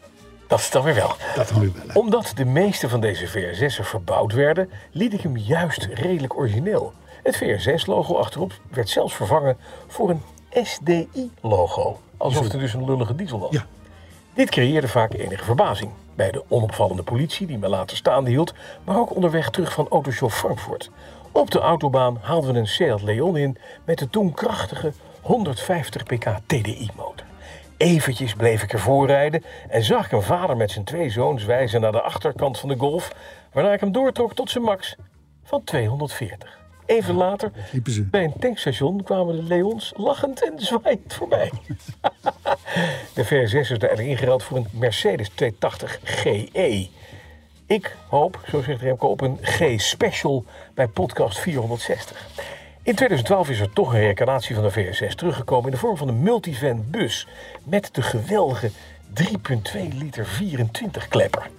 S4: Dat is dan weer wel.
S3: Dat gaan we wel. hè.
S4: Omdat de meeste van deze VR6'en verbouwd werden, liet ik hem juist redelijk origineel. Het VR6-logo achterop werd zelfs vervangen voor een SDI-logo. Alsof het dus een lullige diesel was.
S3: Ja.
S4: Dit creëerde vaak enige verbazing. Bij de onopvallende politie die me later staande hield, maar ook onderweg terug van Autoshow Frankfurt. Op de autobaan haalden we een Seat Leon in met de toen krachtige 150 pk TDI-motor. Eventjes bleef ik ervoor rijden en zag ik een vader met zijn twee zoons wijzen naar de achterkant van de Golf, waarna ik hem doortrok tot zijn max van 240. Even later,
S3: liepen ze.
S4: bij een tankstation, kwamen de Leons lachend en zwaaiend voorbij. De VR6 is uiteindelijk ingereld voor een Mercedes 280 GE. Ik hoop, zo zegt Remco, op een G-special bij podcast 460. In 2012 is er toch een reïncarnatie van de VR6 teruggekomen in de vorm van een multivan bus met de geweldige 3.2 liter 24 klepper.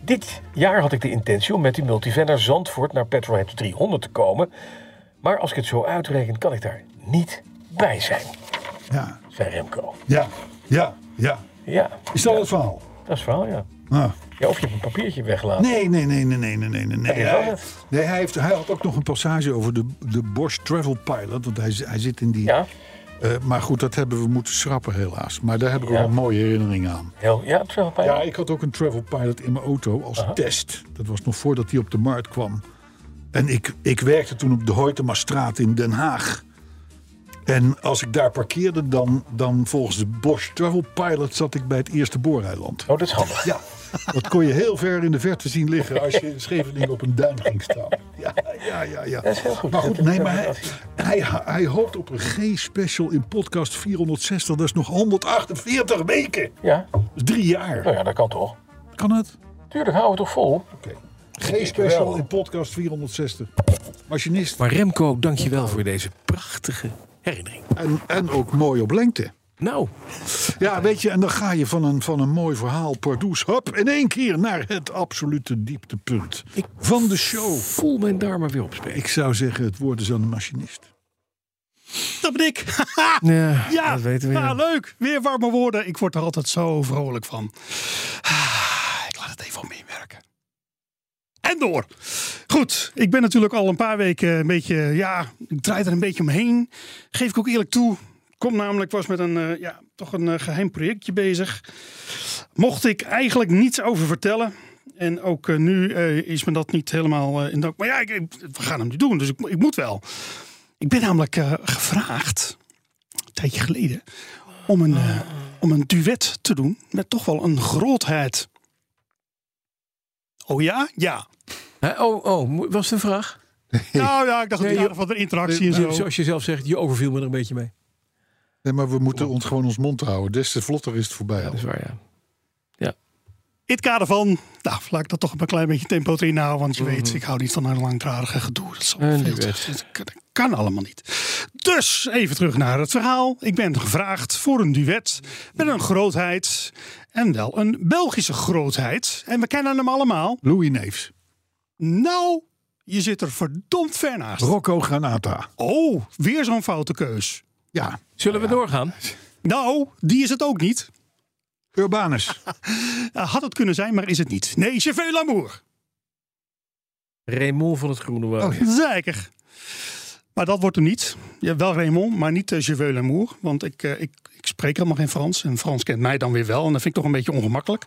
S4: Dit jaar had ik de intentie om met die multivan naar Zandvoort naar Petrolhead 300 te komen, maar als ik het zo uitreken kan ik daar niet bij zijn,
S3: Ja,
S4: zei Remco.
S3: ja, ja, ja.
S4: Ja,
S3: Is dat het verhaal?
S4: dat is wel ja.
S3: Ah.
S4: Ja, of je hebt een papiertje weggelaten.
S3: Nee, nee, nee, nee, nee, nee, nee, nee. nee.
S4: is wel
S3: Hij,
S4: het.
S3: nee, hij, heeft, hij had ook nog een passage over de, de Bosch Travel Pilot. Want hij, hij zit in die...
S4: Ja,
S3: Eh, maar goed, dat hebben we moeten schrappen helaas. Maar daar heb ik
S4: Ja.
S3: wel een mooie herinnering aan.
S4: heel, ja, het is wel pijn.
S3: Ja, ik had ook een Travel Pilot in mijn auto als test. Dat was nog voordat die op de markt kwam. En ik, ik werkte toen op de Hoytemastraat in Den Haag. En als ik daar parkeerde, dan, dan volgens de Bosch Travel Pilot zat ik bij het eerste booreiland.
S4: Oh, dat is handig.
S3: Ja, dat kon je heel ver in de verte zien liggen als je
S4: (laughs)
S3: in Scheveningen op een duim ging staan. Ja, ja, ja. ja.
S4: Dat is heel goed.
S3: Maar
S4: Dat
S3: goed,
S4: is
S3: nee,
S4: een
S3: maar hij,
S4: relatie.
S3: hij, hij hoopt op een G-special in podcast 460. Dat is nog 148 weken.
S4: Ja,
S3: Dat is drie jaar.
S4: nou ja, dat kan toch.
S3: Kan het?
S4: Tuurlijk, hou het toch vol.
S3: Oké. G-special in podcast 460. Machinist.
S4: Maar Remco, dankjewel voor deze prachtige herinnering.
S3: En, en ook mooi op lengte.
S4: Nou,
S3: Ja, weet je, en dan ga je van een, van een mooi verhaal, pardoes, hop, in één keer naar het absolute dieptepunt
S4: Ik-
S3: van de show.
S4: voel mijn darmen weer opspelen.
S3: Ik zou zeggen, het woord is aan de machinist.
S5: Dat ben ik.
S4: Ja,
S5: Ja,
S4: dat weten we.
S5: ja, leuk. Weer warme woorden. Ik word er altijd zo vrolijk van. Ah, Ik laat het even op me inwerken. En door. Goed, ik ben natuurlijk al een paar weken een beetje, ja, ik draai er een beetje omheen. Geef ik ook eerlijk toe. Kom namelijk, was met een, eh, ja, toch een eh, geheim projectje bezig. Mocht ik eigenlijk niets over vertellen. En ook eh, nu eh, is me dat niet helemaal eh, in dank. Maar ja, ik, ik- we gaan hem nu doen, dus ik, ik moet wel. Ik ben namelijk eh, gevraagd een tijdje geleden om een, eh, om een duet te doen met toch wel een grootheid. Oh ja? Ja.
S4: Hè, Oh, oh, mo- was het een vraag?
S5: Nou ja, ik dacht
S4: Nee,
S5: het
S4: joh.
S5: aardig van de interactie
S7: Nou,
S5: en zo.
S4: Zoals je zelf zegt, je overviel me er een beetje mee.
S3: Nee, maar we moeten ons gewoon ons mond houden. Des te vlotter is het voorbij.
S4: Dat is waar, ja. Ja.
S5: In het kader van, nou, laat ik dat toch maar een klein beetje tempo erin houden. Want je weet, ik hou niet van een langdradige gedoe. Dat is allemaal
S7: En die
S5: veel te-
S7: weg.
S5: dat kan- dat kan allemaal niet. Dus, even terug naar het verhaal. Ik ben gevraagd voor een duet met een grootheid. En wel een Belgische grootheid. En we kennen hem allemaal.
S3: Louis Neefs.
S5: Nou, je zit er verdomd ver naast.
S3: Rocco Granata.
S5: Oh, weer zo'n foute keus.
S3: Ja.
S7: Zullen we doorgaan?
S5: Nou, die is het ook niet.
S3: Urbanus.
S5: Eh, had het kunnen zijn, maar is het niet. Nee, je veel L'amour.
S7: Raymond van het Groene Woud.
S3: Oh, ja.
S5: Zeker. Maar dat wordt hem niet. Ja, wel Raymond, maar niet uh, Je veux l'amour. Want ik, eh, ik, ik spreek helemaal geen Frans. En Frans kent mij dan weer wel. En dat vind ik toch een beetje ongemakkelijk.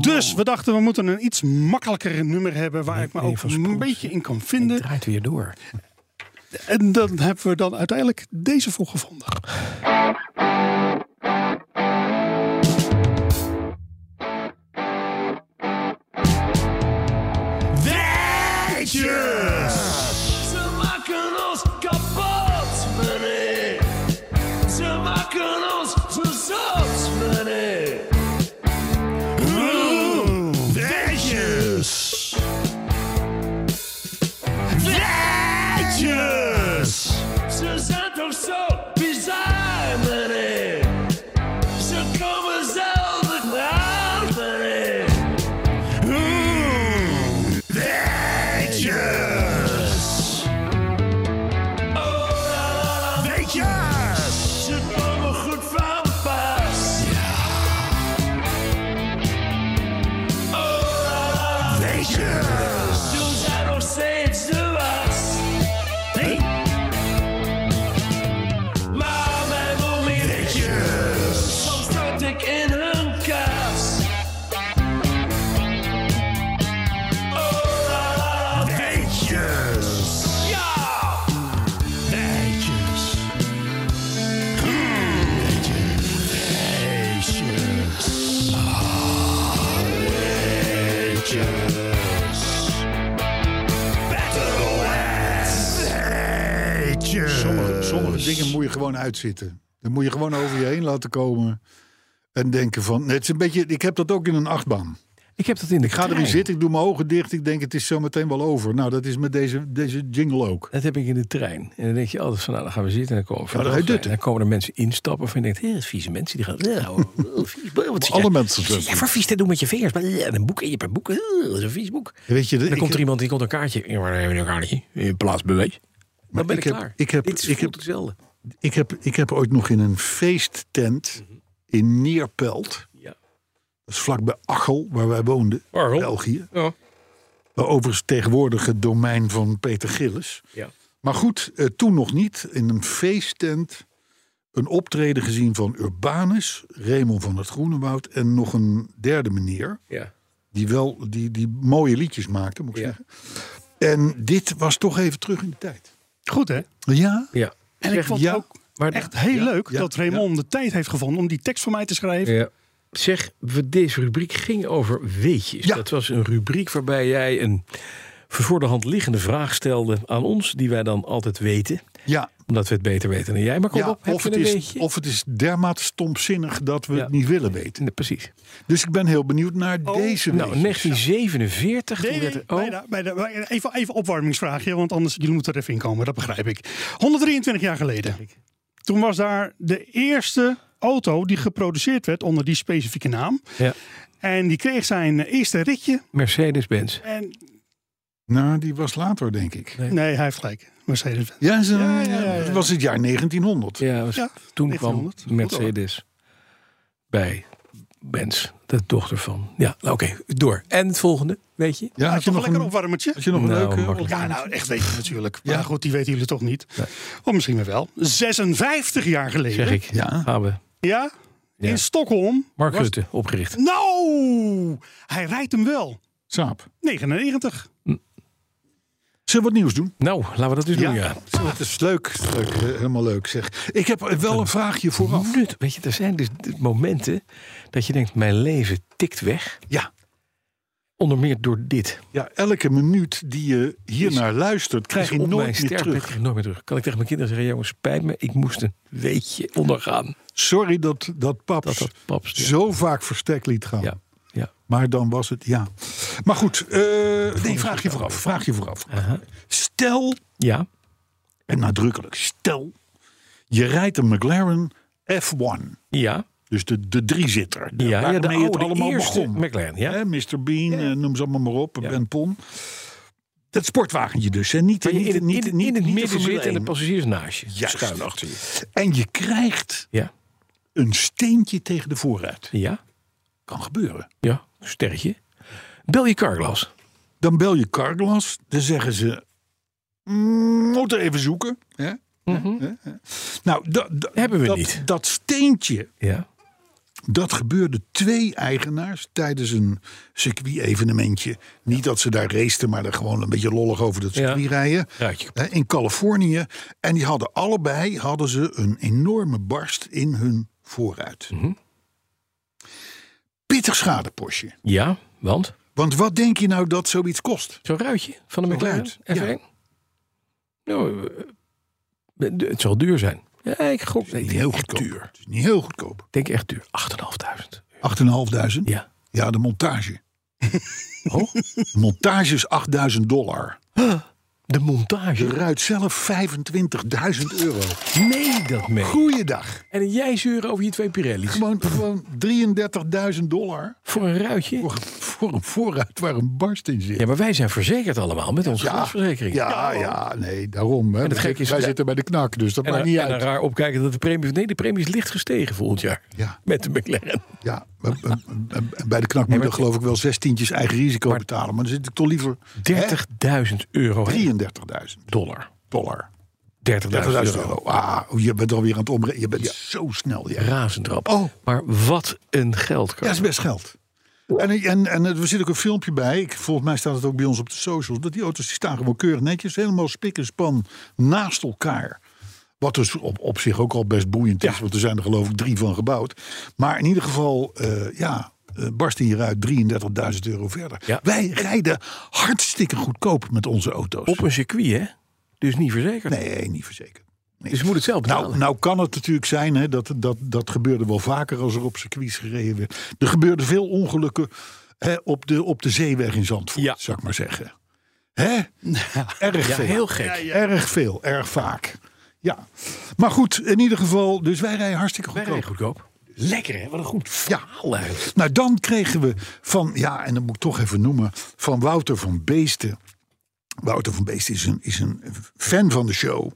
S5: Dus we dachten, we moeten een iets makkelijker nummer hebben. Waar ik me ook
S7: van
S5: een
S7: Spoels.
S5: beetje in kan
S7: Het
S5: vinden.
S7: draait weer door.
S5: En dan hebben we dan uiteindelijk deze voor gevonden. Weetjes!
S8: Ze maken ons kapot, meneer. Ze maken ons zo zot, meneer.
S5: Weetjes! Weetjes!
S8: Ze zijn toch zo bizar, meneer. Ze komen zelden aan, meneer. Oh, Weetjes! Ze komen goed van pas. Oh, Weetjes! Ze zijn nog steeds de was. Maar mijn momentjes, soms stort ik in hun kaas. Oh la la la, weetjes. Ja, weetjes. Hmm, Weetjes, weetjes. Ah, weetjes. Battle Ass. Weetjes.
S3: Sommige, sommige dingen moet je gewoon uitzitten. Dan moet je gewoon over je heen laten komen. En denken van, het is een beetje, ik heb dat ook in een achtbaan.
S7: Ik heb dat in de
S3: Ik ga erin
S7: trein.
S3: zitten, ik doe mijn ogen dicht. Ik denk, het is zometeen wel over. Nou, dat is met deze, deze jingle ook.
S7: Dat heb ik in de trein. En dan denk je altijd van, nou, dan gaan we zitten. En dan komen, we
S3: Ja, dan
S7: vanaf
S3: ga je dit.
S7: en dan komen er mensen instappen. Of je denkt, hé, dat is vieze mensen. Die gaan, ja,
S3: (laughs)
S7: hoor, heel vies. Wat zit
S3: Alle
S7: jij-
S3: mensen
S7: wat zit
S3: zeggen.
S7: jij voor vies te doen met je vingers? Maar, ja, en een boek in je per boek. eh, Dat is een vies boek.
S3: Weet je,
S7: Dan
S3: ik-
S7: komt er iemand, die komt een kaartje. Ja, maar dan hebben we een kaartje. In plaats beweeg. Dan ben ik,
S3: ik heb-
S7: klaar.
S3: ik heb-
S7: Dit is
S3: ik
S7: voelt
S3: heb-
S7: hetzelfde.
S3: Ik heb, ik heb ooit nog in een feesttent in Neerpelt.
S7: Mhm. Ja.
S3: Dat is vlakbij Achel, waar wij woonden.
S7: Achel?
S3: België.
S7: Ja.
S3: Overigens tegenwoordig het domein van Peter Gillis.
S7: Ja.
S3: Maar goed, eh, toen nog niet. In een feesttent een optreden gezien van Urbanus, Raymond van het Groenewoud... en nog een derde meneer,
S7: Ja.
S3: die wel die, die mooie liedjes maakte, moet ik
S7: Ja.
S3: zeggen. En dit was toch even terug in de tijd.
S5: Goed hè?
S3: Ja,
S7: ja.
S5: En ik vond
S3: ja,
S5: ook
S7: Maar
S5: echt heel leuk
S3: ja,
S5: dat Raymond de tijd heeft gevonden om die tekst voor mij te schrijven.
S7: Ja. Zeg, we- deze rubriek ging over weetjes.
S3: Ja.
S7: Dat was een rubriek waarbij jij een voor de hand liggende vraag stelde aan ons, die wij dan altijd weten,
S3: ja,
S7: omdat we het beter weten dan jij. Maar kom
S3: ja
S7: op, heb
S3: of,
S7: je
S3: het
S7: een
S3: is,
S7: weetje?
S3: of het is dermate stomzinnig dat we
S7: Ja.
S3: het niet willen weten.
S7: Nee, precies.
S3: Dus ik ben heel benieuwd naar
S5: Oh,
S3: deze
S7: Nou,
S3: weetjes.
S7: 1947. toen
S5: Nee,
S7: werd er- oh,
S5: nee, bijna, bijna, bijna. Even, even opwarmingsvraagje, want anders jullie moeten er even in komen, dat begrijp ik. 123 jaar geleden. Toen was daar de eerste auto die geproduceerd werd onder die specifieke naam.
S7: Ja.
S5: En die kreeg zijn eerste ritje.
S7: Mercedes-Benz.
S5: En
S3: Nou, die was later, denk ik.
S5: nee, hij heeft gelijk. Mercedes.
S3: Ja, ze-
S5: Ja, ja, ja, ja.
S3: het was het jaar 1900.
S7: Ja, was-
S5: Ja,
S7: toen
S5: 1900.
S7: kwam Mercedes bij Benz, de dochter van. Ja, nou, oké, door. En het volgende, weet je?
S3: Ja,
S5: Ja,
S3: had je
S5: toch een
S3: nog
S5: lekker
S3: een,
S5: opwarmertje.
S3: had je nog een
S7: Nou,
S3: leuke?
S7: makkelijk.
S5: Ja, nou, echt weet je natuurlijk.
S3: Ja.
S5: Maar goed, die weten jullie toch niet. Of misschien weer wel. 56 jaar geleden.
S7: Zeg ik.
S3: Ja.
S7: Gaan we.
S5: Ja?
S7: Ja.
S5: In Stockholm.
S7: Mark
S5: was-
S7: Rutte, opgericht.
S5: Nou, hij rijdt hem wel.
S3: Saap.
S5: 99.
S3: Zullen we wat nieuws doen?
S7: Nou, laten we dat dus doen, ja.
S3: Zo, Het is leuk, leuk, eh, helemaal leuk zeg. Ik heb wel een vraagje vooraf.
S7: Nut. Weet je, er zijn dus d- momenten dat je denkt, mijn leven tikt weg.
S3: Ja,
S7: Onder meer door dit.
S3: ja elke minuut die je hiernaar luistert, krijg je
S4: Dus
S7: op
S3: nooit meer
S7: sterfbed
S3: terug.
S7: krijg ik nooit meer terug. Kan ik tegen mijn kinderen zeggen, jongens, spijt me, ik moest een weetje ondergaan.
S3: Sorry dat, dat paps
S7: Dat dat paps.
S3: zo vaak verstek liet gaan.
S7: Ja.
S4: Ja.
S3: Maar dan was het, ja. Maar goed, eh, nee, vraag je vooraf. Vraag je vooraf. Stel,
S4: Ja.
S3: en nadrukkelijk, stel, je rijdt een McLaren F1.
S4: Ja.
S3: Dus de, de driezitter.
S4: Ja, ja, de
S3: waarmee het
S4: oude
S3: allemaal
S4: eerste
S3: begon.
S4: McLaren, ja.
S3: Hè, Mr. Bean, eh, noem ze allemaal maar op.
S4: Ja.
S3: Ben Pon. Dat sportwagentje dus. Hè? Niet,
S4: Waar je
S3: niet,
S4: in het,
S3: niet,
S4: in, het-
S3: niet,
S4: in het
S3: niet de
S4: midden
S3: Formule
S4: zit en de
S3: 1.
S4: passagiers naast je.
S3: Juist.
S4: Schuin achter je.
S3: En je krijgt
S4: Ja.
S3: een steentje tegen de voorruit.
S4: Ja.
S3: Kan gebeuren.
S4: Ja. Sterretje. Bel je carglass.
S3: Dan bel je Carglass. Dan zeggen ze... "Mm, Moet er even zoeken. Hè? Hè? Hè? Nou, da- da-
S4: Mhm. Hebben we
S3: dat,
S4: niet.
S3: dat steentje
S4: Ja.
S3: Dat gebeurde twee eigenaars tijdens een circuit-evenementje. Niet dat ze daar raceten, maar er gewoon een beetje lollig over dat circuit
S4: Ja.
S3: rijden.
S4: Ruitje
S3: Hè, In Californië. En die hadden allebei hadden ze een enorme barst in hun vooruit.
S4: Mhm.
S3: Pittig schadepostje.
S4: Ja. Want?
S3: Want wat denk je nou dat zoiets kost?
S4: Zo'n ruitje van de
S3: Zo'n
S4: McLaren
S3: ruit,
S4: F1?
S3: ja.
S4: Nou, eh, eh, het zal duur zijn. Ja, ik gok.
S3: Niet
S4: Nee, het is
S3: heel
S4: echt
S3: goedkoop.
S4: duur.
S3: Het is niet heel goedkoop.
S4: Ik denk echt duur. 8.500.
S3: 8.500?
S4: Ja.
S3: Ja, de montage.
S4: Oh,
S3: (laughs) De montage is 8.000 dollar.
S4: de
S3: De
S4: montage.
S3: ruit zelf 25.000 euro.
S4: Nee, dat mee.
S3: Goeiedag.
S4: En jij zeuren over je twee Pirelli's.
S3: Gewoon, gewoon 33.000 dollar
S4: Voor een ruitje.
S3: voor, voor een vooruit waar een barst in zit.
S4: Ja, maar wij zijn verzekerd allemaal met onze glasverzekering.
S3: ja, ja, nee, daarom. Hè.
S4: het
S3: Wij
S4: gekke is-
S3: wij zitten bij de knak, dus dat
S4: En,
S3: maakt
S4: dan-
S3: niet
S4: en dan
S3: uit.
S4: raar opkijken dat de premie... Nee, de premie is licht gestegen volgend jaar.
S3: Ja.
S4: Met de McLaren.
S3: ja, maar- maar- maar- maar bij de knak moet je dan geloof ik wel zestientjes eigen risico betalen. Maar dan zit ik toch liever hè,
S4: 30.000 euro.
S3: 33.000
S4: dollar.
S3: dollar.
S4: 30.000
S3: 30.000
S4: euro.
S3: euro. Ah, je bent alweer aan het omrekenen. Je bent zo snel. Ja.
S4: Razend rap.
S3: Oh.
S4: Maar wat een
S3: Ja,
S4: geldkar.
S3: dat is best geld. En, en, en er zit ook een filmpje bij. Ik, volgens mij staat het ook bij ons op de socials. Dat die auto's die staan gewoon keurig netjes. Helemaal spik en span naast elkaar. Wat dus op, op zich ook al best boeiend is. Want er zijn er geloof ik drie van gebouwd. Maar in ieder geval, eh, ja, eh, barst hieruit 33.000 euro verder.
S4: Ja.
S3: Wij rijden hartstikke goedkoop met onze auto's.
S4: Op een circuit, hè? Dus niet verzekerd.
S3: Nee, niet verzekerd. Nee.
S4: Dus je moet het zelf betalen.
S3: Nou, nou kan het natuurlijk zijn, hè, dat, dat, dat gebeurde wel vaker als er op circuits gereden werd. Er gebeurden veel ongelukken hè, op, de, op de zeeweg in Zandvoort,
S4: Ja.
S3: zou ik maar zeggen. Hè? Erg
S4: ja,
S3: veel.
S4: heel gek.
S3: Erg veel, erg vaak. Ja, maar goed, in ieder geval, dus wij rijden hartstikke
S4: Wij
S3: goedkoop.
S4: rijden goedkoop. Lekker, hè? Wat een goed verhaal eigenlijk.
S3: Nou, dan kregen we van, ja, en dat moet ik toch even noemen, van Wouter van Beesten. Wouter van Beesten is een, is een fan van de show.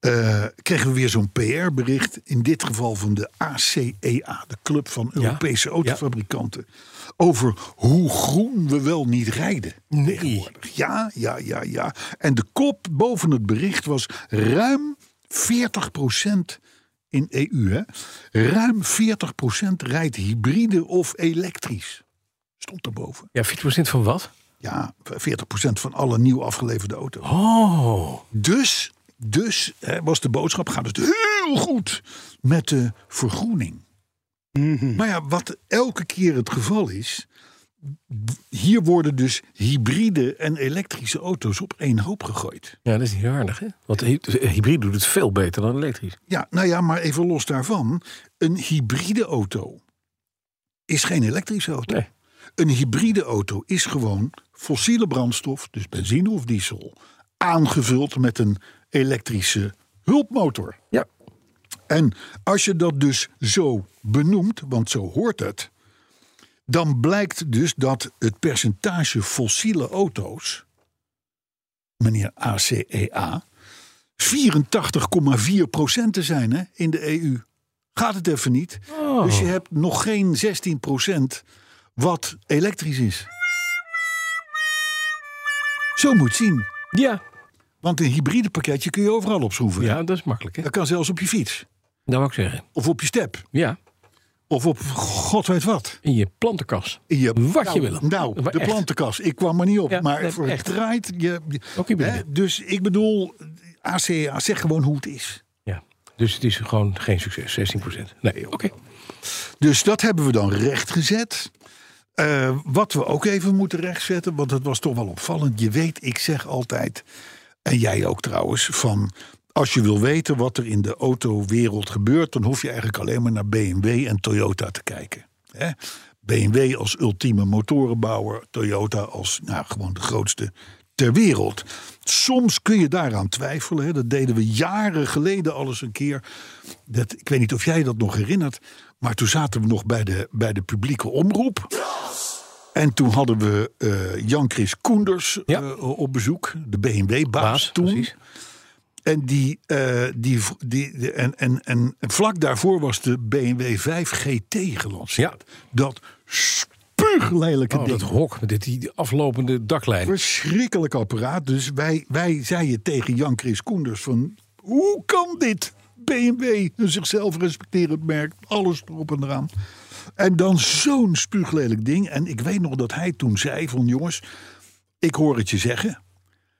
S3: Eh, kregen we weer zo'n PR-bericht, in dit geval van de ACEA, de Club van Europese
S4: ja.
S3: Autofabrikanten, over hoe groen we wel niet rijden.
S4: Nee.
S3: Ja, ja, ja, ja. En de kop boven het bericht was ruim 40 in EU. Hè? Ruim 40 rijdt hybride of elektrisch. Stond daarboven.
S4: Ja, 40% van wat?
S3: Ja, 40 van alle nieuw afgeleverde auto's.
S4: Oh.
S3: Dus, dus hè, was de boodschap, gaat het heel goed met de vergroening. Maar ja, wat elke keer het geval is... Hier worden dus hybride en elektrische auto's op één hoop gegooid.
S4: Ja, dat is niet aardig, hè? Want hy- dus, eh, hybride doet het veel beter dan elektrisch.
S3: Ja, nou ja, maar even los daarvan. Een hybride auto is geen elektrische auto.
S4: Nee.
S3: Een hybride auto is gewoon fossiele brandstof, dus benzine of diesel, aangevuld met een elektrische hulpmotor.
S4: Ja.
S3: En als je dat dus zo benoemt, want zo hoort het, dan blijkt dus dat het percentage fossiele auto's, meneer E ACEA, 84,4 te zijn hè, in de EU. Gaat het even niet.
S4: Oh.
S3: Dus je hebt nog geen 16 wat elektrisch is. Zo moet zien.
S4: Ja.
S3: Want een hybride pakketje kun je overal opschroeven.
S4: Ja, dat is makkelijk, hè?
S3: Dat kan zelfs op je fiets.
S4: Dat wou ik zeggen.
S3: Of op je step.
S4: Ja.
S3: Of op god weet wat.
S4: In je plantenkas.
S3: In je-
S4: Wat
S3: nou,
S4: je wil.
S3: Nou,
S4: Maar
S3: de
S4: echt.
S3: plantenkas. Ik kwam er niet op.
S4: Ja,
S3: maar
S4: nee,
S3: voor het
S4: echt.
S3: draait. Je, je-
S4: Ook hybride.
S3: hè, dus ik bedoel, ACA, zeg gewoon hoe het is.
S4: Ja. Dus het is gewoon geen succes. 16%. Nee, oké.
S3: Dus dat hebben we dan rechtgezet. Eh wat we ook even moeten rechtzetten, want dat was toch wel opvallend. Je weet, ik zeg altijd, en jij ook trouwens, van als je wil weten wat er in de autowereld gebeurt, dan hoef je eigenlijk alleen maar naar BMW en Toyota te kijken. Hè? BMW als ultieme motorenbouwer, Toyota als nou, gewoon de grootste ter wereld. Soms kun je daaraan twijfelen. Hè. Dat deden we jaren geleden al eens een keer. Dat, ik weet niet of jij dat nog herinnert, maar toen zaten we nog bij de, bij de publieke omroep. En toen hadden we eh, Jan-Chris Koenders
S4: Ja.
S3: eh, op bezoek, de BMW-baas
S4: Baas,
S3: toen.
S4: precies.
S3: En, die, eh, die, die, de- en, en, en vlak daarvoor was de BMW 5 GT gelanceerd. Dat spuuglelijke
S4: Oh,
S3: ding.
S4: dat hok, met dit, die aflopende daklijn.
S3: Verschrikkelijk apparaat. Dus wij, wij zeiden tegen Jan-Chris Koenders van... Hoe kan dit? BMW, een zichzelf respecterend merk. Alles erop en eraan. En dan zo'n spuuglelijk ding. En ik weet nog dat hij toen zei van... Jongens, ik hoor het je zeggen.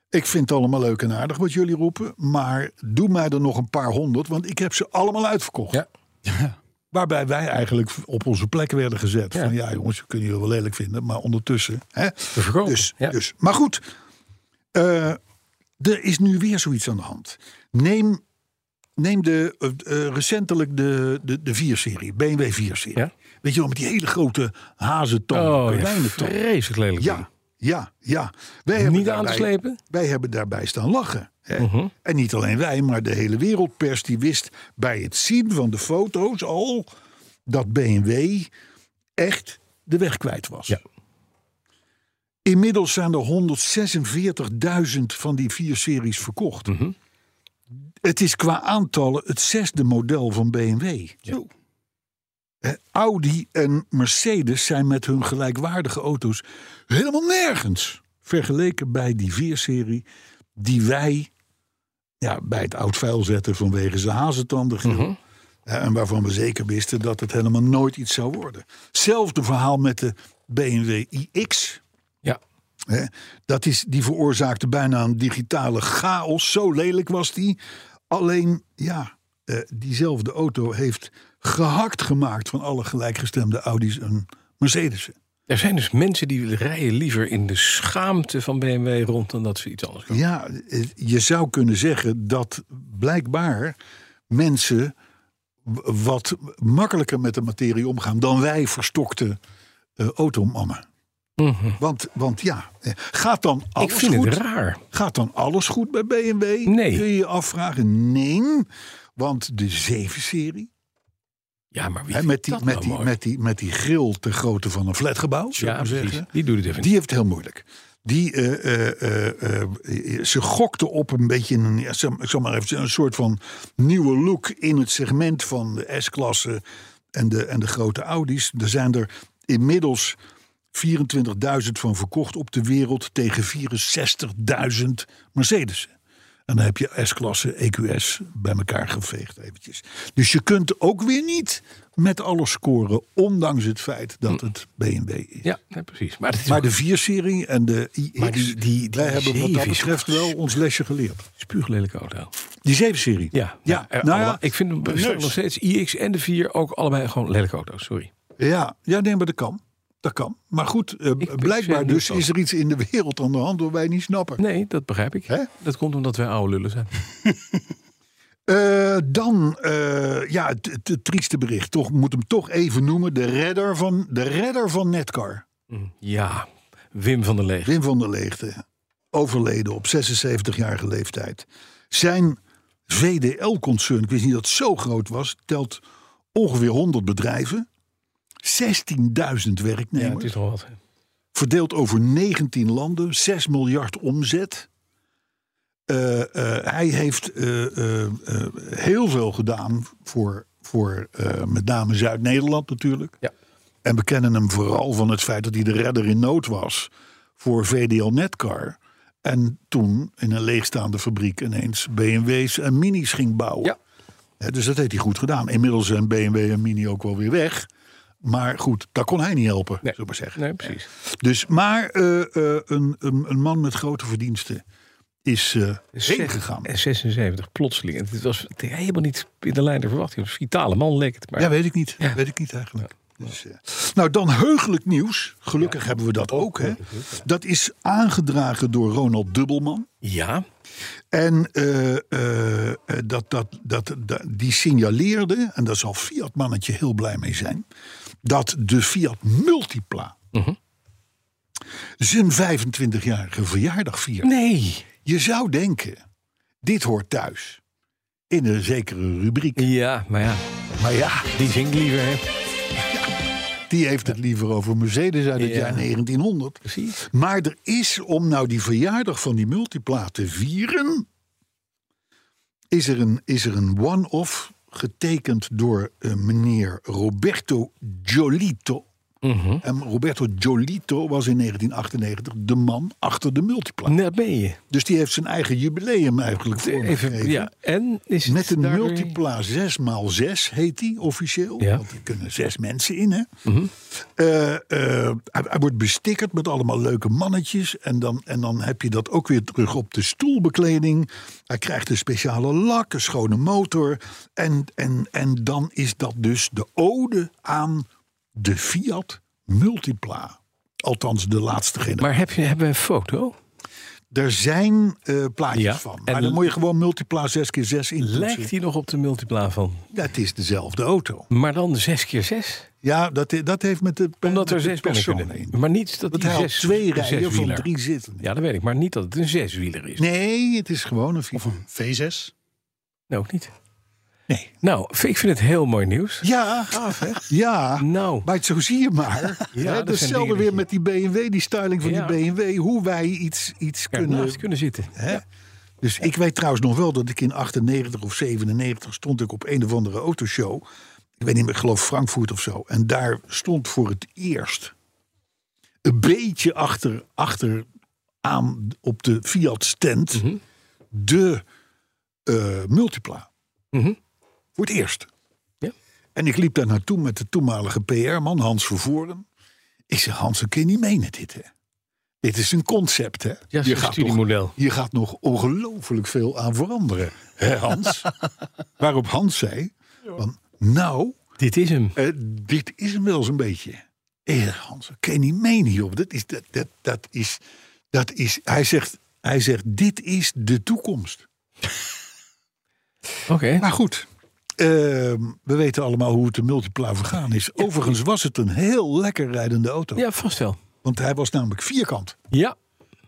S3: Ik vind het allemaal leuk en aardig wat jullie roepen. Maar doe mij er nog een paar honderd. Want ik heb ze allemaal uitverkocht.
S4: Ja.
S3: (laughs) Waarbij wij eigenlijk op onze plek werden gezet.
S4: Ja.
S3: Van ja, jongens, we kunnen jullie wel lelijk vinden. Maar ondertussen. Hè?
S4: verkopen,
S3: Dus,
S4: ja.
S3: dus. Maar goed, eh, er is nu weer zoiets aan de hand. Neem, neem de, eh, eh, recentelijk de, de, de 4-serie, BMW 4-serie.
S4: Ja.
S3: Weet je wel, met die hele grote hazentong,
S4: Oh, ja,
S3: kleine tong.
S4: vreselijk lelijk.
S3: Ja, ja, ja. Wij
S4: Niet
S3: hebben
S4: aan te
S3: daarbij-
S4: slepen? Mhm.
S3: Wij hebben daarbij staan lachen. Hè? En niet alleen wij, maar de hele wereldpers die wist bij het zien van de foto's al dat BMW echt de weg kwijt was.
S4: Ja.
S3: Inmiddels zijn er 146.000 van die vier series verkocht.
S4: Mhm.
S3: Het is qua aantallen het zesde model van BMW. Zo. Eh, Audi en Mercedes zijn met hun gelijkwaardige auto's helemaal nergens vergeleken bij die 4-serie die wij ja, bij het oud vuil zetten vanwege zijn hazentanden. geel. Eh, En waarvan we zeker wisten dat het helemaal nooit iets zou worden. Zelfde verhaal met de BMW iX.
S4: Ja.
S3: Hè? Dat is, die veroorzaakte bijna een digitale chaos. Zo lelijk was die. Alleen, ja, eh, diezelfde auto heeft gehakt gemaakt van alle gelijkgestemde Audi's en Mercedes'en.
S4: Er zijn dus mensen die rijden liever in de schaamte van BMW rond dan dat ze iets anders doen.
S3: Ja, eh, je zou kunnen zeggen dat blijkbaar mensen w- wat makkelijker met de materie omgaan dan wij verstokte eh automammen. Want, want ja, eh, gaat dan
S4: Mhm. Ik
S3: alles
S4: vind
S3: goed?
S4: het raar.
S3: Gaat dan alles goed bij BMW?
S4: Nee.
S3: Kun je je afvragen? Nee, want de 7-serie,
S4: Ja, maar wie
S3: hè,
S4: vindt
S3: met, die,
S4: dat
S3: met,
S4: nou
S3: die,
S4: mooi?
S3: met, die, met die grill ter grootte van een flatgebouw, zou
S4: ja,
S3: ik maar
S4: precies.
S3: zeggen.
S4: Die doet het even
S3: Die heeft het heel moeilijk. Die, eh, eh, eh, eh, ze gokte op een beetje een, ja, zeg- ik zal maar even, zeggen, een soort van nieuwe look in het segment van de S-klasse en de, en de grote Audi's. Er zijn er inmiddels 24.000 van verkocht op de wereld tegen 64.000 Mercedes. En dan heb je S-klasse, EQS bij elkaar geveegd eventjes. Dus je kunt ook weer niet met alles scoren, ondanks het feit dat het BMW is.
S4: Ja, nee, precies. Maar, dat is
S3: Maar
S4: ook
S3: de 4-serie en de iX,
S4: Maar die- die- die
S3: wij hebben wat dat
S4: zeven is
S3: betreft
S4: gewoon
S3: wel ons lesje geleerd.
S4: een spuuglelijke auto.
S3: Die 7-serie?
S4: Ja,
S3: ja.
S4: er-
S3: nou
S4: alle-
S3: ja,
S4: ik vind hem bestaan
S3: neus.
S4: nog steeds iX en de 4 ook allebei gewoon lelijke auto's. Sorry.
S3: ja, ja, nee, maar dat kan. Dat kan. Maar goed, eh,
S4: ben zeer
S3: blijkbaar
S4: benieuwd
S3: dus is er iets in de wereld aan de hand door wij niet snappen.
S4: Nee, dat begrijp ik.
S3: Hè?
S4: Dat komt omdat wij oude lullen zijn.
S3: Eh, dan, eh, ja, het, het- het trieste bericht. Toch moet hem toch even noemen. De redder van, de redder van Netcar.
S4: Hm. Ja, Wim van der Leeg.
S3: Wim van der Leegte, overleden op 76-jarige leeftijd. Zijn VDL-concern, ik wist niet dat het zo groot was, telt ongeveer 100 bedrijven, 16.000
S4: Ja,
S3: werknemers,
S4: het is nog wat.
S3: verdeeld over 19 landen, 6 miljard omzet. Eh, eh, hij heeft eh, eh, eh, heel veel gedaan voor, voor eh, met name Zuid-Nederland natuurlijk.
S4: Ja.
S3: En we kennen hem vooral van het feit dat hij de redder in nood was voor VDL Netcar. En toen in een leegstaande fabriek ineens BMW's en Mini's ging bouwen.
S4: Ja.
S3: Hè, dus dat heeft hij goed gedaan. Inmiddels zijn BMW en Mini ook wel weer weg. Maar goed, daar kon hij niet helpen,
S4: Nee.
S3: zullen we maar zeggen.
S4: Nee, precies.
S3: Dus, maar eh, eh, een, een, een man met grote verdiensten is eh heen gegaan.
S4: En 76, plotseling. En Het was helemaal niet in de lijn der verwachting. Een vitale man leek het. Maar
S3: Ja, weet ik niet. Weet ik niet eigenlijk. Dus, eh, nou, dan heugelijk nieuws. Gelukkig hebben we dat ook. Hè. Dat is aangedragen door Ronald Dubbelman.
S4: Ja,
S3: En eh, eh, eh, dat, dat, dat, dat- die signaleerde, en daar zal Fiat-mannetje heel blij mee zijn, dat de Fiat Multipla zijn 25-jarige verjaardag viert.
S4: nee.
S3: Je zou denken, dit hoort thuis. In een zekere rubriek.
S4: Ja, maar ja,
S3: Maar ja,
S4: die zingt liever, hè.
S3: die heeft het liever over Mercedes uit het
S4: Ja.
S3: jaar 1900.
S4: Precies.
S3: Maar er is, om nou die verjaardag van die multipla te vieren... is er een, is er een one-off getekend door eh, meneer Roberto Giolito.
S4: Mhm.
S3: En Roberto Giolito was in 1998 de man achter de multipla.
S4: Daar ben je.
S3: Dus die heeft zijn eigen jubileum eigenlijk
S4: Mm. Even,
S3: vormgegeven.
S4: ja. En is het
S3: Met een
S4: daardoor-
S3: multipla 6x6 heet die officieel.
S4: Ja. Mhm.
S3: Want er kunnen zes mensen in. Hè? Eh, eh, hij, hij wordt bestikkerd met allemaal leuke mannetjes. En dan, en dan heb je dat ook weer terug op de stoelbekleding. Hij krijgt een speciale lak, een schone motor. En, en, en dan is dat dus de ode aan de Fiat Multipla. Althans, de laatste generatie.
S4: Maar heb je, hebben we een foto?
S3: Er zijn eh, plaatjes
S4: Ja,
S3: van.
S4: en
S3: Maar dan moet je gewoon Multipla 6x6 in.
S4: Lijkt die nog op de multipla van?
S3: Dat is dezelfde auto.
S4: Maar dan 6 keer 6
S3: Ja, dat, dat heeft met de
S4: Omdat
S3: met
S4: er
S3: de
S4: zes mannen
S3: personen
S4: kunnen.
S3: in.
S4: Maar niet dat
S3: Want
S4: die
S3: hij had
S4: zes
S3: twee
S4: een
S3: rijen van
S4: zeswieler.
S3: drie zitten.
S4: Ja, dat weet ik. Maar niet dat het een zeswieler is.
S3: Nee, het is gewoon een fiets.
S5: Of een V6.
S4: Nou, ook niet.
S3: Nee.
S4: Nou, ik vind het heel mooi nieuws.
S3: Ja, ja.
S4: Nou.
S3: Maar het- zo zie je maar.
S4: Ja,
S3: Hè,
S4: dat zijn
S3: Hetzelfde
S4: dingen
S3: weer
S4: die-
S3: met die BMW, die styling van
S4: Ja.
S3: die BMW. Hoe wij iets, iets
S4: Kunnen,
S3: kunnen...
S4: kunnen zitten.
S3: Hè? Dus ik weet trouwens nog wel dat ik in 98 of 97 stond ik op een of andere autoshow. Ik weet niet meer, ik geloof Frankfurt of zo. En daar stond voor het eerst een beetje achter, achter aan op de Fiat stand
S4: Mhm.
S3: de eh, Multipla.
S4: Mhm.
S3: Voor het eerst.
S4: Ja.
S3: En ik liep daar naartoe met de toenmalige PR-man Hans Vervoren. Ik zeg, Hans, dat kun je niet menen dit, hè? Dit is een concept, hè?
S4: Ja, zo'n
S3: gaat nog
S4: studiemodel.
S3: Oh. je gaat nog ongelooflijk veel aan veranderen, hè Hans? Waarop Hans zei, van, nou,
S4: Dit is hem.
S3: eh, dit is hem wel zo'n beetje. Eh, Hans, dat kan je niet menen, joh. Dat is, dat, dat, dat is, dat is, hij, zegt, hij zegt, dit is de toekomst.
S4: Oké.
S3: Maar goed, ehm, we weten allemaal hoe het de Multipla vergaan is. Overigens was het een heel lekker rijdende auto.
S4: Ja, vast wel.
S3: Want hij was namelijk vierkant.
S4: Ja.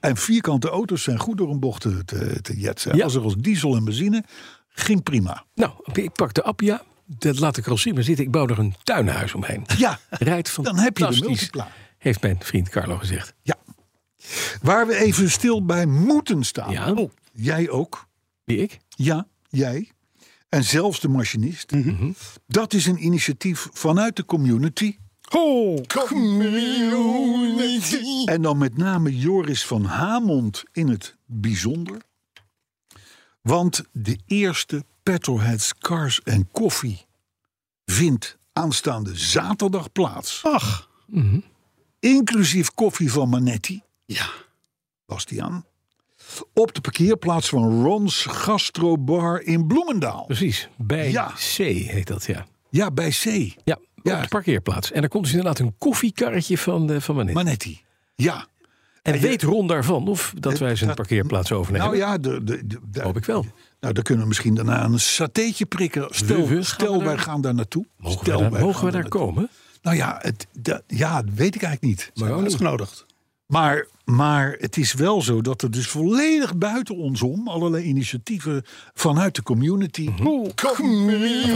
S3: En vierkante auto's zijn goed door een bocht te, te, te jetsen.
S4: Ja.
S3: Als er als diesel en benzine, ging prima.
S4: Nou, ik pak de Appia. Dat laat ik er al zien maar zitten. Ik bouw er een tuinhuis omheen.
S3: Ja,
S4: Rijdt van
S3: dan heb je de multipla.
S4: Heeft mijn vriend Carlo gezegd.
S3: Ja. Waar we even stil bij moeten staan.
S4: Ja.
S3: Oh, jij ook.
S4: Wie ik?
S3: Ja, jij. En zelfs de machinist.
S4: Mhm.
S3: Mhm. Dat is een initiatief vanuit de community.
S5: Ho!
S3: En dan met name Joris van Hamond in het bijzonder. Want de eerste Petrolheads Cars en Koffie vindt aanstaande zaterdag plaats.
S5: Ach.
S3: Inclusief koffie van Manetti,
S5: Ja.
S3: Bastiaan. Op de parkeerplaats van Rons Gastrobar in Bloemendaal.
S4: Precies. Bij
S3: Ja.
S4: C heet dat, ja.
S3: Ja, bij C.
S4: Ja,
S3: Ja.
S4: op de parkeerplaats. En er komt dus inderdaad een koffiekarretje van, eh van Manet.
S3: Manetti. Ja.
S4: en weet Ron daarvan of dat wij zijn
S3: dat-
S4: parkeerplaats overnemen?
S3: Nou ja, de, de, de- de-
S4: Hoop ik wel.
S3: Nou, dan kunnen we misschien daarna een satéetje prikken. Stel,
S4: we gaan
S3: stel
S4: daar-
S3: wij gaan daar naartoe.
S4: Mogen
S3: Stel,
S4: we daar,
S3: wij
S4: mogen
S3: gaan
S4: we daar
S3: naartoe.
S4: komen?
S3: Nou ja, het, dat- ja, dat weet ik eigenlijk niet.
S4: Maar ook niet.
S5: Uitgenodigd.
S3: Maar, maar het is wel zo dat er dus volledig buiten ons om... allerlei initiatieven vanuit de community...
S4: Mhm. Wat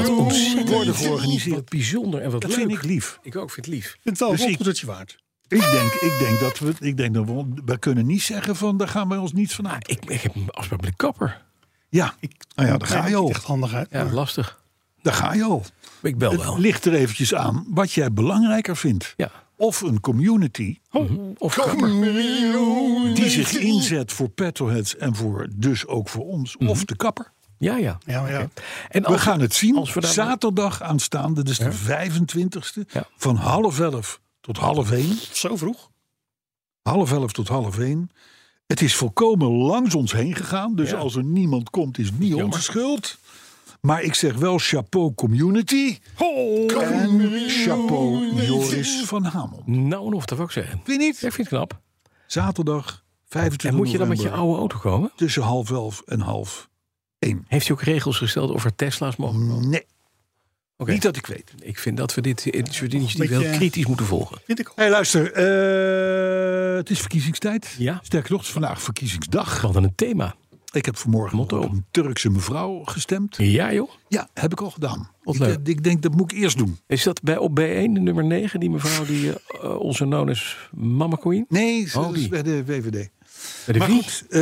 S4: ontzettend
S3: worden georganiseerd.
S4: Wat bijzonder en wat
S3: Dat
S4: leuk.
S3: vind ik lief.
S4: Ik ook vind het lief.
S5: Vind het wel een
S3: Dus ik-
S5: optoetje waard.
S3: Ik denk, ik denk dat we... Ik denk dat we, we kunnen niet zeggen van... daar gaan wij ons niets van aan.
S4: Ik, ik heb een afspraak met de kapper.
S3: Ja, nou ja, daar
S5: Kijk,
S3: ga je
S5: niet
S3: al.
S5: echt handig uit.
S4: Ja, lastig.
S3: Daar ga je al.
S4: Maar ik bel Oh, wel.
S3: Het ligt er eventjes aan wat jij belangrijker vindt.
S4: Ja.
S3: Of een community
S4: Of kapper.
S3: die zich inzet voor petrolheads en voor, dus ook voor ons.
S4: Mhm.
S3: Of de kapper.
S4: Ja, ja.
S5: Ja, maar ja.
S4: En
S3: We
S4: als-
S3: gaan het zien.
S4: als we daar-
S3: Zaterdag aanstaande, dus de 25 e
S4: Ja.
S3: van half elf tot half één.
S5: Zo vroeg.
S3: Half elf tot half één. Het is volkomen langs ons heen gegaan. Dus als er niemand komt, is het niet onze schuld. Maar ik zeg wel chapeau community. En chapeau Joris van Hamel.
S7: Nou, nog dat wil ik zeggen.
S3: Vind je niet?
S7: Ik vind het knap.
S3: Zaterdag 25
S7: En moet je dan met je
S3: november,
S7: oude auto komen?
S3: tussen half elf en half één.
S7: Heeft hij ook regels gesteld over Tesla's mogen?
S3: Nee,
S7: Oké.
S3: niet dat ik weet.
S7: Ik vind dat we dit eh, soort initiatieven
S5: Beetje-
S7: heel kritisch moeten volgen.
S5: Vind ik ook.
S3: Hé, hey, luister. eh, het is verkiezingstijd.
S7: Ja.
S3: Sterker nog, het is vandaag verkiezingsdag.
S7: Wat een thema.
S3: Ik heb vanmorgen
S7: Motto.
S3: op een Turkse mevrouw gestemd.
S7: Ja, joh.
S3: Ja, heb ik al gedaan.
S7: Wat
S3: ik,
S7: leuk.
S3: eh, ik denk, dat moet ik eerst doen.
S7: Is dat bij op B1, de nummer 9, die mevrouw die eh, onze known is Mama Queen?
S3: Nee, ze
S7: Oh,
S3: dat is
S7: die.
S3: bij de VVD.
S7: Bij de
S3: maar
S7: wie?
S3: goed, eh,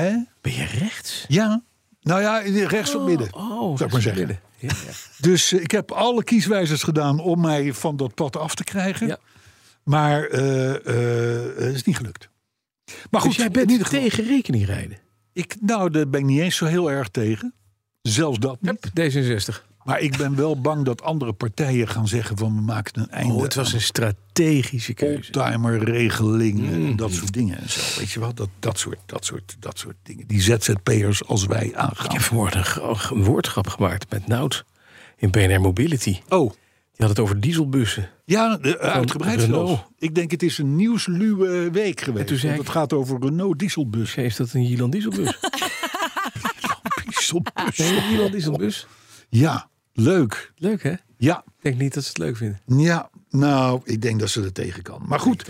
S3: hè?
S7: Ben je rechts?
S3: Ja. Nou ja, rechts op midden.
S7: Oh,
S3: zou ik maar zeggen.
S7: midden. Ja, ja.
S3: Dus eh, ik heb alle kieswijzers gedaan om mij van dat pad af te krijgen.
S7: Ja.
S3: Maar eh, eh, het is niet gelukt. Maar goed,
S7: dus jij bent
S3: in ieder geval-
S7: tegen rekening rijden.
S3: Ik, nou, daar ben ik niet eens zo heel erg tegen. Zelfs dat niet.
S7: Hup, D66.
S3: Maar ik ben wel bang dat andere partijen gaan zeggen van we maken een einde
S7: Oh, het was een strategische keuze.
S3: oldtimerregelingen en
S7: Mm.
S3: dat soort dingen en zo. Weet je wat? Dat, dat, soort, dat, soort, dat soort dingen. Die ZZP'ers als wij
S7: Ik heb
S3: aangaan.
S7: vanmorgen een,
S4: oh,
S7: gra- een woordgrap gemaakt met Nout in BNR Mobility. Die
S3: Oh,
S7: had het over dieselbussen.
S3: ja, de, eh, uitgebreid
S7: Renault.
S3: zelfs. Ik denk het is een nieuwsluwe week geweest.
S7: toen zei
S3: want het
S7: ik-
S3: gaat over Renault dieselbus.
S7: Ik zei, is dat een
S3: (laughs)
S7: Jilan dieselbus?
S3: dieselbus.
S7: Nee, Oh, een Jilan dieselbus.
S3: Ja, leuk.
S7: Leuk, hè? Ik
S3: Ja,
S7: denk niet dat ze het leuk vinden.
S3: Ja, nou, ik denk dat ze er tegen kan. Maar goed,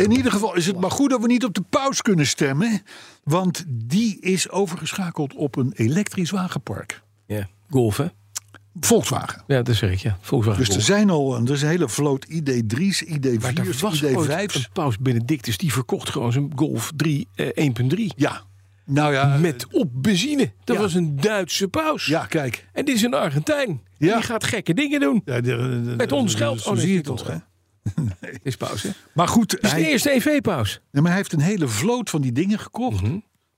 S3: in ieder geval is het maar goed dat we niet op de paus kunnen stemmen. Want die is overgeschakeld op een elektrisch wagenpark.
S7: Ja. Golf, hè?
S3: Volkswagen.
S7: Ja, dat zeg ik, ja. Volkswagen
S3: Dus er
S7: Golf.
S3: zijn al een, er is een hele vloot ID3's, ID4's, ID5's.
S7: een paus Benedictus die verkocht gewoon zijn Golf 3 eh, 1.3
S3: Ja, nou ja.
S7: met op benzine. Dat
S3: ja.
S7: was een Duitse paus.
S3: Ja, kijk.
S7: En dit is een Argentijn.
S3: Ja.
S7: Die gaat gekke dingen doen.
S3: Ja, de- de- de-
S7: Met ons
S3: de-
S7: geld.
S3: Zo
S7: Oh, nee,
S3: zie je
S7: niet
S3: het
S7: ons
S3: toch, hè?
S7: Is paus, hè?
S3: Maar goed,
S7: Is de
S3: hij,
S7: eerste E EV-paus.
S3: nee, maar hij heeft een hele vloot van die dingen gekocht.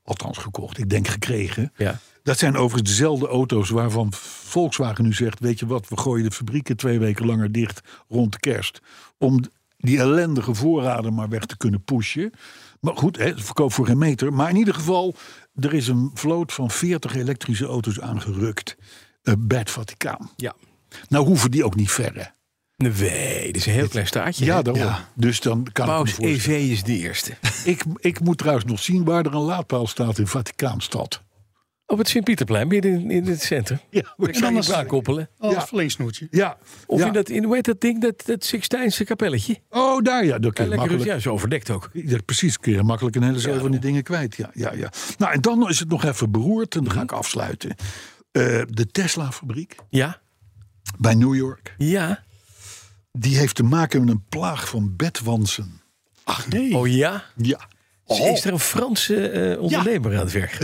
S3: Althans gekocht, ik denk gekregen.
S7: Mhm. Ja.
S3: Dat zijn overigens dezelfde auto's waarvan Volkswagen nu zegt: Weet je wat, we gooien de fabrieken twee weken langer dicht rond de kerst. Om die ellendige voorraden maar weg te kunnen pushen. Maar goed, hè, verkoop voor geen meter. Maar in ieder geval, er is een vloot van 40 elektrische auto's aangerukt eh, bij het Vaticaan.
S7: Ja.
S3: Nou hoeven die ook niet verre.
S7: Nee, dit is een heel klein staartje.
S3: Ja,
S7: hè?
S3: daarom. Dus dan kan ik me
S7: Paus
S3: voorstellen.
S7: EV is de eerste.
S3: Ik, ik moet trouwens nog zien waar er een laadpaal staat in Vaticaanstad.
S7: Op het Sint-Pieterplein, midden in, in het centrum.
S3: Ja,
S7: Ik kan je
S5: als-
S7: elkaar koppelen.
S5: Als
S3: Ja.
S5: Oh, verlengsnoertje.
S3: ja.
S7: Of
S3: ja.
S7: in dat, in, hoe heet dat ding, dat, dat Sixtijnse kapelletje.
S3: Oh, daar ja, dat kan
S7: Ja,
S3: je
S7: lekker
S3: makkelijk.
S7: rustig. Ja, zo overdekt ook.
S3: Ja, precies, kun je makkelijk een hele zee van die dingen kwijt. Ja, ja, ja. Nou, en dan is het nog even beroerd en dan ga ik afsluiten. Eh, de Tesla-fabriek
S7: Ja.
S3: bij New York,
S7: Ja.
S3: die heeft te maken met een plaag van bedwansen.
S5: Ach nee.
S7: Oh ja.
S3: (laughs) Ja. Oh.
S7: Is er een Franse eh, ondernemer aan het
S3: (laughs)
S7: werk?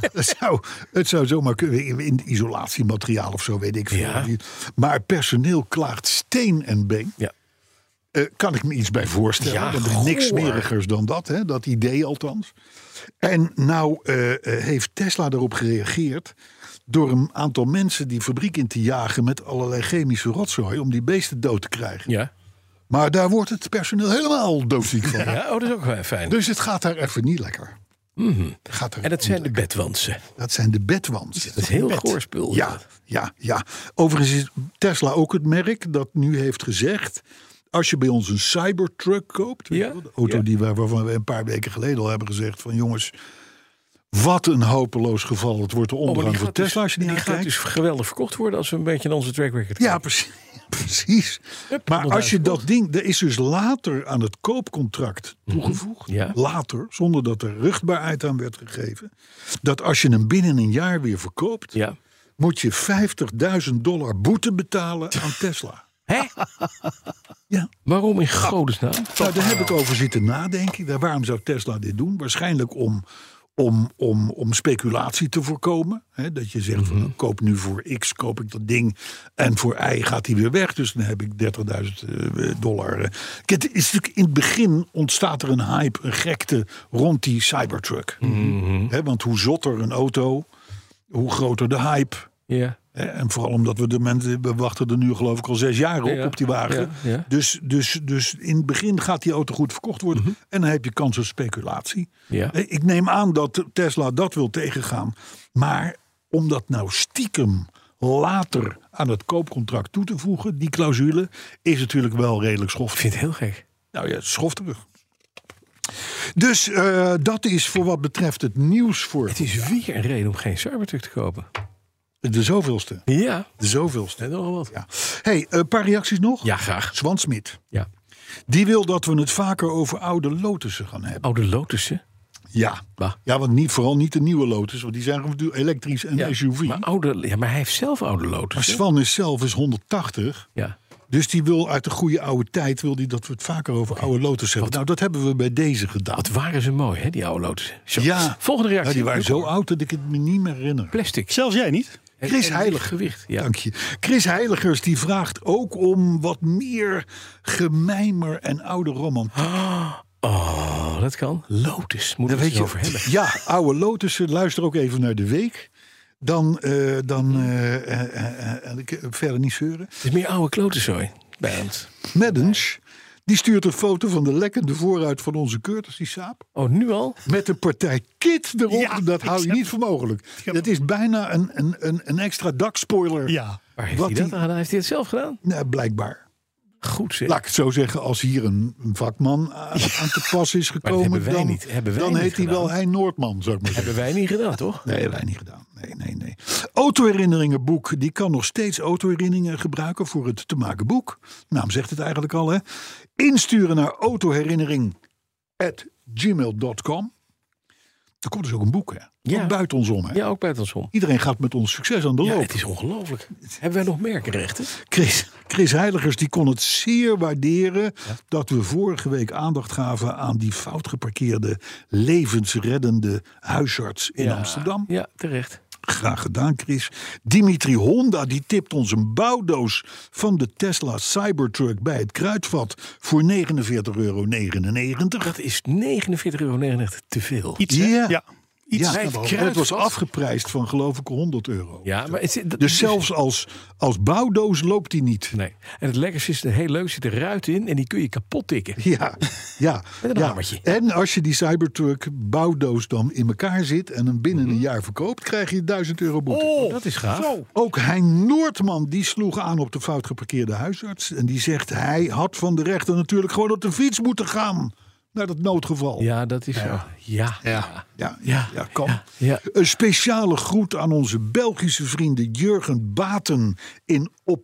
S3: Het zou, het zou zomaar kunnen, in isolatiemateriaal of zo, weet ik veel.
S7: Ja.
S3: Maar personeel klaagt steen en been.
S7: Ja.
S3: Eh, kan ik me iets bij voorstellen.
S7: Ja,
S3: Want er is niks
S7: goor.
S3: smerigers dan dat, hè? dat idee althans. En nou eh, eh, heeft Tesla daarop gereageerd door een aantal mensen die fabriek in te jagen met allerlei chemische rotzooi om die beesten dood te krijgen.
S7: Ja.
S3: Maar daar wordt het personeel helemaal doodziek van.
S7: ja. Oh, dat is ook wel fijn.
S3: Dus het gaat daar even niet lekker. Gaat er
S7: Mhm. En dat zijn de bedwansen.
S3: dat zijn de bedwansen.
S7: Dat is heel goor spul.
S3: Ja, ja, ja. Overigens is Tesla ook het merk dat nu heeft gezegd. Als je bij ons een Cybertruck koopt, weet je
S7: Ja,
S3: wel, de auto
S7: ja.
S3: die wij, waarvan we een paar weken geleden al hebben gezegd van jongens, wat een hopeloos geval. Het wordt de
S7: Oh, maar
S3: ondergang
S7: die
S3: van
S7: gaat,
S3: Tesla als
S7: dus,
S3: je niet
S7: die gaat
S3: aankijkt.
S7: dus geweldig verkocht worden als we een beetje naar onze track record
S3: Ja, precies. (laughs) precies.
S7: Hup,
S3: maar als je
S7: 100.000
S3: dat ding, er is dus later aan het koopcontract toegevoegd,
S7: Mhm. Ja.
S3: later, zonder dat er ruchtbaarheid aan werd gegeven, dat als je hem binnen een jaar weer verkoopt,
S7: Ja.
S3: moet je 50.000 dollar boete betalen aan Tesla.
S7: Hé?
S3: (laughs) Ja.
S7: Waarom in godesnaam?
S3: Nou, daar heb ik over zitten nadenken. Daar- Waarom zou Tesla dit doen? Waarschijnlijk om, om, om, om speculatie te voorkomen. Hè, dat je zegt, van,
S7: Mhm.
S3: nou, koop nu voor X, koop ik dat ding. En voor Y gaat hij weer weg. Dus dan heb ik 30.000 eh, dollar. eh. Kijk, Het is natuurlijk in het begin ontstaat er een hype, een gekte rond die Cybertruck.
S7: Mhm.
S3: Hè, want hoe zotter een auto, hoe groter de hype.
S7: Ja.
S3: Hè, En vooral omdat we de mensen, we wachten er nu geloof ik al zes jaar op,
S7: Ja,
S3: op die wagen.
S7: ja, ja.
S3: Dus, dus, dus in het begin gaat die auto goed verkocht worden.
S4: Mhm.
S3: En dan heb je kans op speculatie.
S7: Ja.
S3: Eh, Ik neem aan dat Tesla dat wil tegengaan. Maar om dat nou stiekem later aan het koopcontract toe te voegen, die clausule, is natuurlijk wel redelijk
S4: Ik
S3: schof.
S4: vind het heel gek.
S3: Nou ja, schofterig. Dus eh, dat is voor wat betreft het nieuws voor
S4: Het is weer een reden om geen Cybertruck te kopen.
S3: de zoveelste.
S4: Ja,
S3: De zoveelste.
S4: en nogal wat.
S3: Ja. hey, een paar reacties nog?
S4: Ja, graag.
S3: Swan Smit.
S4: Ja.
S3: Die wil dat we het vaker over oude lotussen gaan hebben.
S4: Oude Lotussen.
S3: Ja,
S4: Bah.
S3: ja want niet, vooral niet de nieuwe Lotus, want die zijn natuurlijk elektrisch en SUV.
S4: Maar,
S3: Maar,
S4: oude, ja, maar hij heeft zelf oude Lotussen.
S3: Swan is zelf is 180,
S4: Ja.
S3: dus die wil uit de goede oude tijd wil die dat we het vaker over oude Lotus hebben. Nou, dat hebben we bij deze gedaan.
S4: Wat waren ze mooi, hè, die oude Lotussen. Zo.
S3: Ja.
S4: Volgende
S3: Ja,
S4: reactie.
S3: die waren
S4: Luc,
S3: zo
S4: hoor.
S3: oud dat ik het me niet meer herinner.
S4: Plastic.
S5: Zelfs jij niet?
S4: En-
S3: Chris
S4: en
S3: Heilig.
S4: Gewicht. Ja.
S3: Dank je. Chris Heiligers die vraagt ook om wat meer gemijmer en oude roman.
S4: Oh, dat kan. Lotus. Moeten we het eens over hebben.
S3: Ja, oude lotussen. Luister ook even naar de week. Dan, eh, dan
S4: Hmm.
S3: eh, eh, eh, eh, ik- verder niet zeuren.
S4: Het is meer oude klotenzooi bij ons.
S3: Meddens, die stuurt een foto van de lekkende vooruit van onze Curtis, die saap.
S4: Oh, nu al?
S3: Met een partij kit erop.
S5: Ja,
S3: dat hou je
S5: ik heb-
S3: niet voor mogelijk.
S5: heb-
S3: Dat is bijna een, een, een, een extra dakspoiler.
S5: Ja.
S4: Waar heeft
S3: Wat
S4: hij dat
S3: die-
S4: aan? gedaan? Heeft hij het zelf gedaan?
S3: Nou, blijkbaar.
S4: Goed zeg.
S3: Laat ik het zo zeggen, als hier een vakman aan, aan te pas
S4: (laughs)
S3: is gekomen,
S4: hebben wij
S3: dan,
S4: niet- hebben wij
S3: dan
S4: niet
S3: heet hij
S4: gedaan.
S3: wel Hein Noordman, zou ik maar zeggen.
S4: Hebben wij niet gedaan, toch?
S3: Nee, wij niet gedaan. Nee, nee, nee. Autoherinneringenboek, die kan nog steeds autoherinneringen gebruiken voor het te maken boek. Naam zegt het eigenlijk al, hè. Insturen naar autoherinnering.gmail.com. Er komt dus ook een boek, hè.
S4: Ja.
S3: Ja. Buiten ons om, hè.
S4: Ja, ook bij het om.
S3: Iedereen gaat met ons succes aan de
S4: Ja,
S3: loop.
S4: het is ongelooflijk. Hebben wij nog merkenrechten?
S3: Chris, Chris Heiligers die kon het zeer waarderen dat we vorige week aandacht gaven aan die fout geparkeerde levensreddende huisarts in Amsterdam.
S4: Ja, terecht.
S3: Graag gedaan, Chris. Dimitri Honda die tipt ons een bouwdoos van de Tesla Cybertruck bij het kruidvat voor 49,99 euro.
S4: Dat is 49,99 euro te veel.
S5: Iets, hè?
S3: Ja.
S5: Ja. Iets.
S3: Ja,
S4: het
S3: en het was
S4: kruidvat.
S3: afgeprijsd van geloof ik 100 euro.
S4: Ja, maar het, dat-
S3: Dus zelfs als, als bouwdoos loopt die niet.
S4: Nee. En het lekkerste is, heel leuk, zit er ruit in en die kun je kapot tikken.
S3: (laughs) Ja, ja.
S4: Met een
S3: ja.
S4: hamertje.
S3: En als je die Cybertruck bouwdoos dan in elkaar zit en hem
S4: Mhm.
S3: binnen een jaar verkoopt, krijg je 1000 euro boete.
S4: dat is gaaf.
S3: Ook Hein Noordman die sloeg aan op de fout geparkeerde huisarts. En die zegt hij had van de rechter natuurlijk gewoon op de fiets moeten gaan naar dat noodgeval.
S4: Ja, dat is zo. Ja. Ja.
S3: ja, ja, ja, kan.
S4: ja.
S3: Een speciale groet aan onze Belgische vrienden Jurgen Baten in Op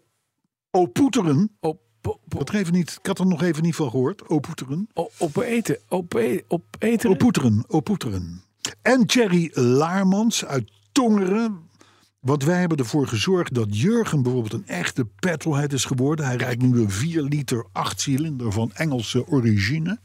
S3: Opoeteren.
S4: Op, op, op,
S3: Dat even niet, ik had er nog even niet van gehoord. Opoeteren.
S4: op, op eten. Op, e- op eten.
S3: Opoeteren, opoeteren. En Thierry Laarmans uit Tongeren. Want wij hebben ervoor gezorgd dat Jurgen bijvoorbeeld een echte petrolhead is geworden. Hij rijdt nu een 4 liter 8 cilinder van Engelse origine.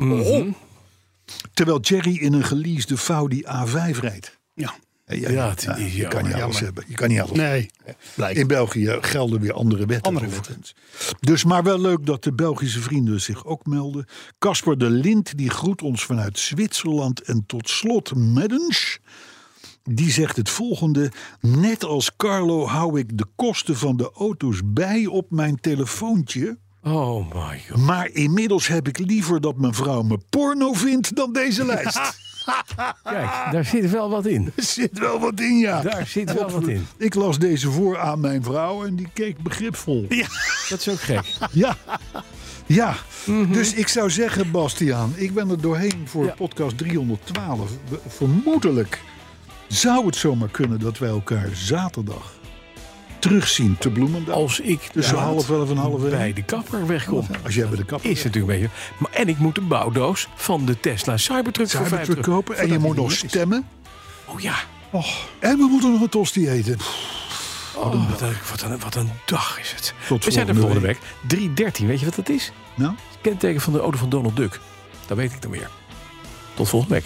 S3: Terwijl Thierry in een geleasede Audi A5 rijdt.
S5: Ja.
S3: Ja,
S4: Ja, het is
S3: je kan
S4: jammer,
S3: niet alles
S5: jammer.
S3: hebben. Je kan niet alles
S5: Nee. Blijkt.
S3: in België gelden weer andere wetten.
S5: Andere
S3: overigens. Dus maar wel leuk dat de Belgische vrienden zich ook melden. Casper de Lind die groet ons vanuit Zwitserland. En tot slot Meddens. Die zegt het volgende. Net als Carlo hou ik de kosten van de auto's bij op mijn telefoontje.
S4: Oh my god.
S3: Maar inmiddels heb ik liever dat mijn vrouw me porno vindt dan deze lijst.
S4: Kijk, daar zit wel wat in.
S3: Er zit wel wat in, ja.
S4: Daar zit wel wat in.
S3: Ik las deze voor aan mijn vrouw en die keek begripvol.
S4: Dat is ook gek.
S3: Ja. (laughs) Ja,
S4: Mhm.
S3: dus ik zou zeggen, Bastiaan, ik ben er doorheen voor podcast 312. We- Vermoedelijk zou het zomaar kunnen dat wij elkaar zaterdag terugzien te Bloemendaal.
S4: Als ik
S3: Tussen
S4: inderdaad
S3: Dus half elf en half elf.
S4: bij de kapper wegkom,
S3: Als jij bij de kapper
S4: is het natuurlijk een beetje... Maar, en ik moet de bouwdoos van de Tesla Cybertruck voor
S3: Zou je het
S4: 50
S3: verkopen en je
S4: Voordat
S3: moet
S4: die
S3: nog
S4: nieuw is.
S3: stemmen.
S4: Oh ja.
S3: En we moeten nog een tosti eten.
S4: Oh, wat, een, wat, een, wat een dag is het.
S3: Tot
S4: We zijn er volgende
S3: volgende
S4: week. 313, weet je wat dat is?
S3: Nou?
S4: Het kenteken van de auto van Donald Duck. Dat weet ik dan weer. Tot volgende week.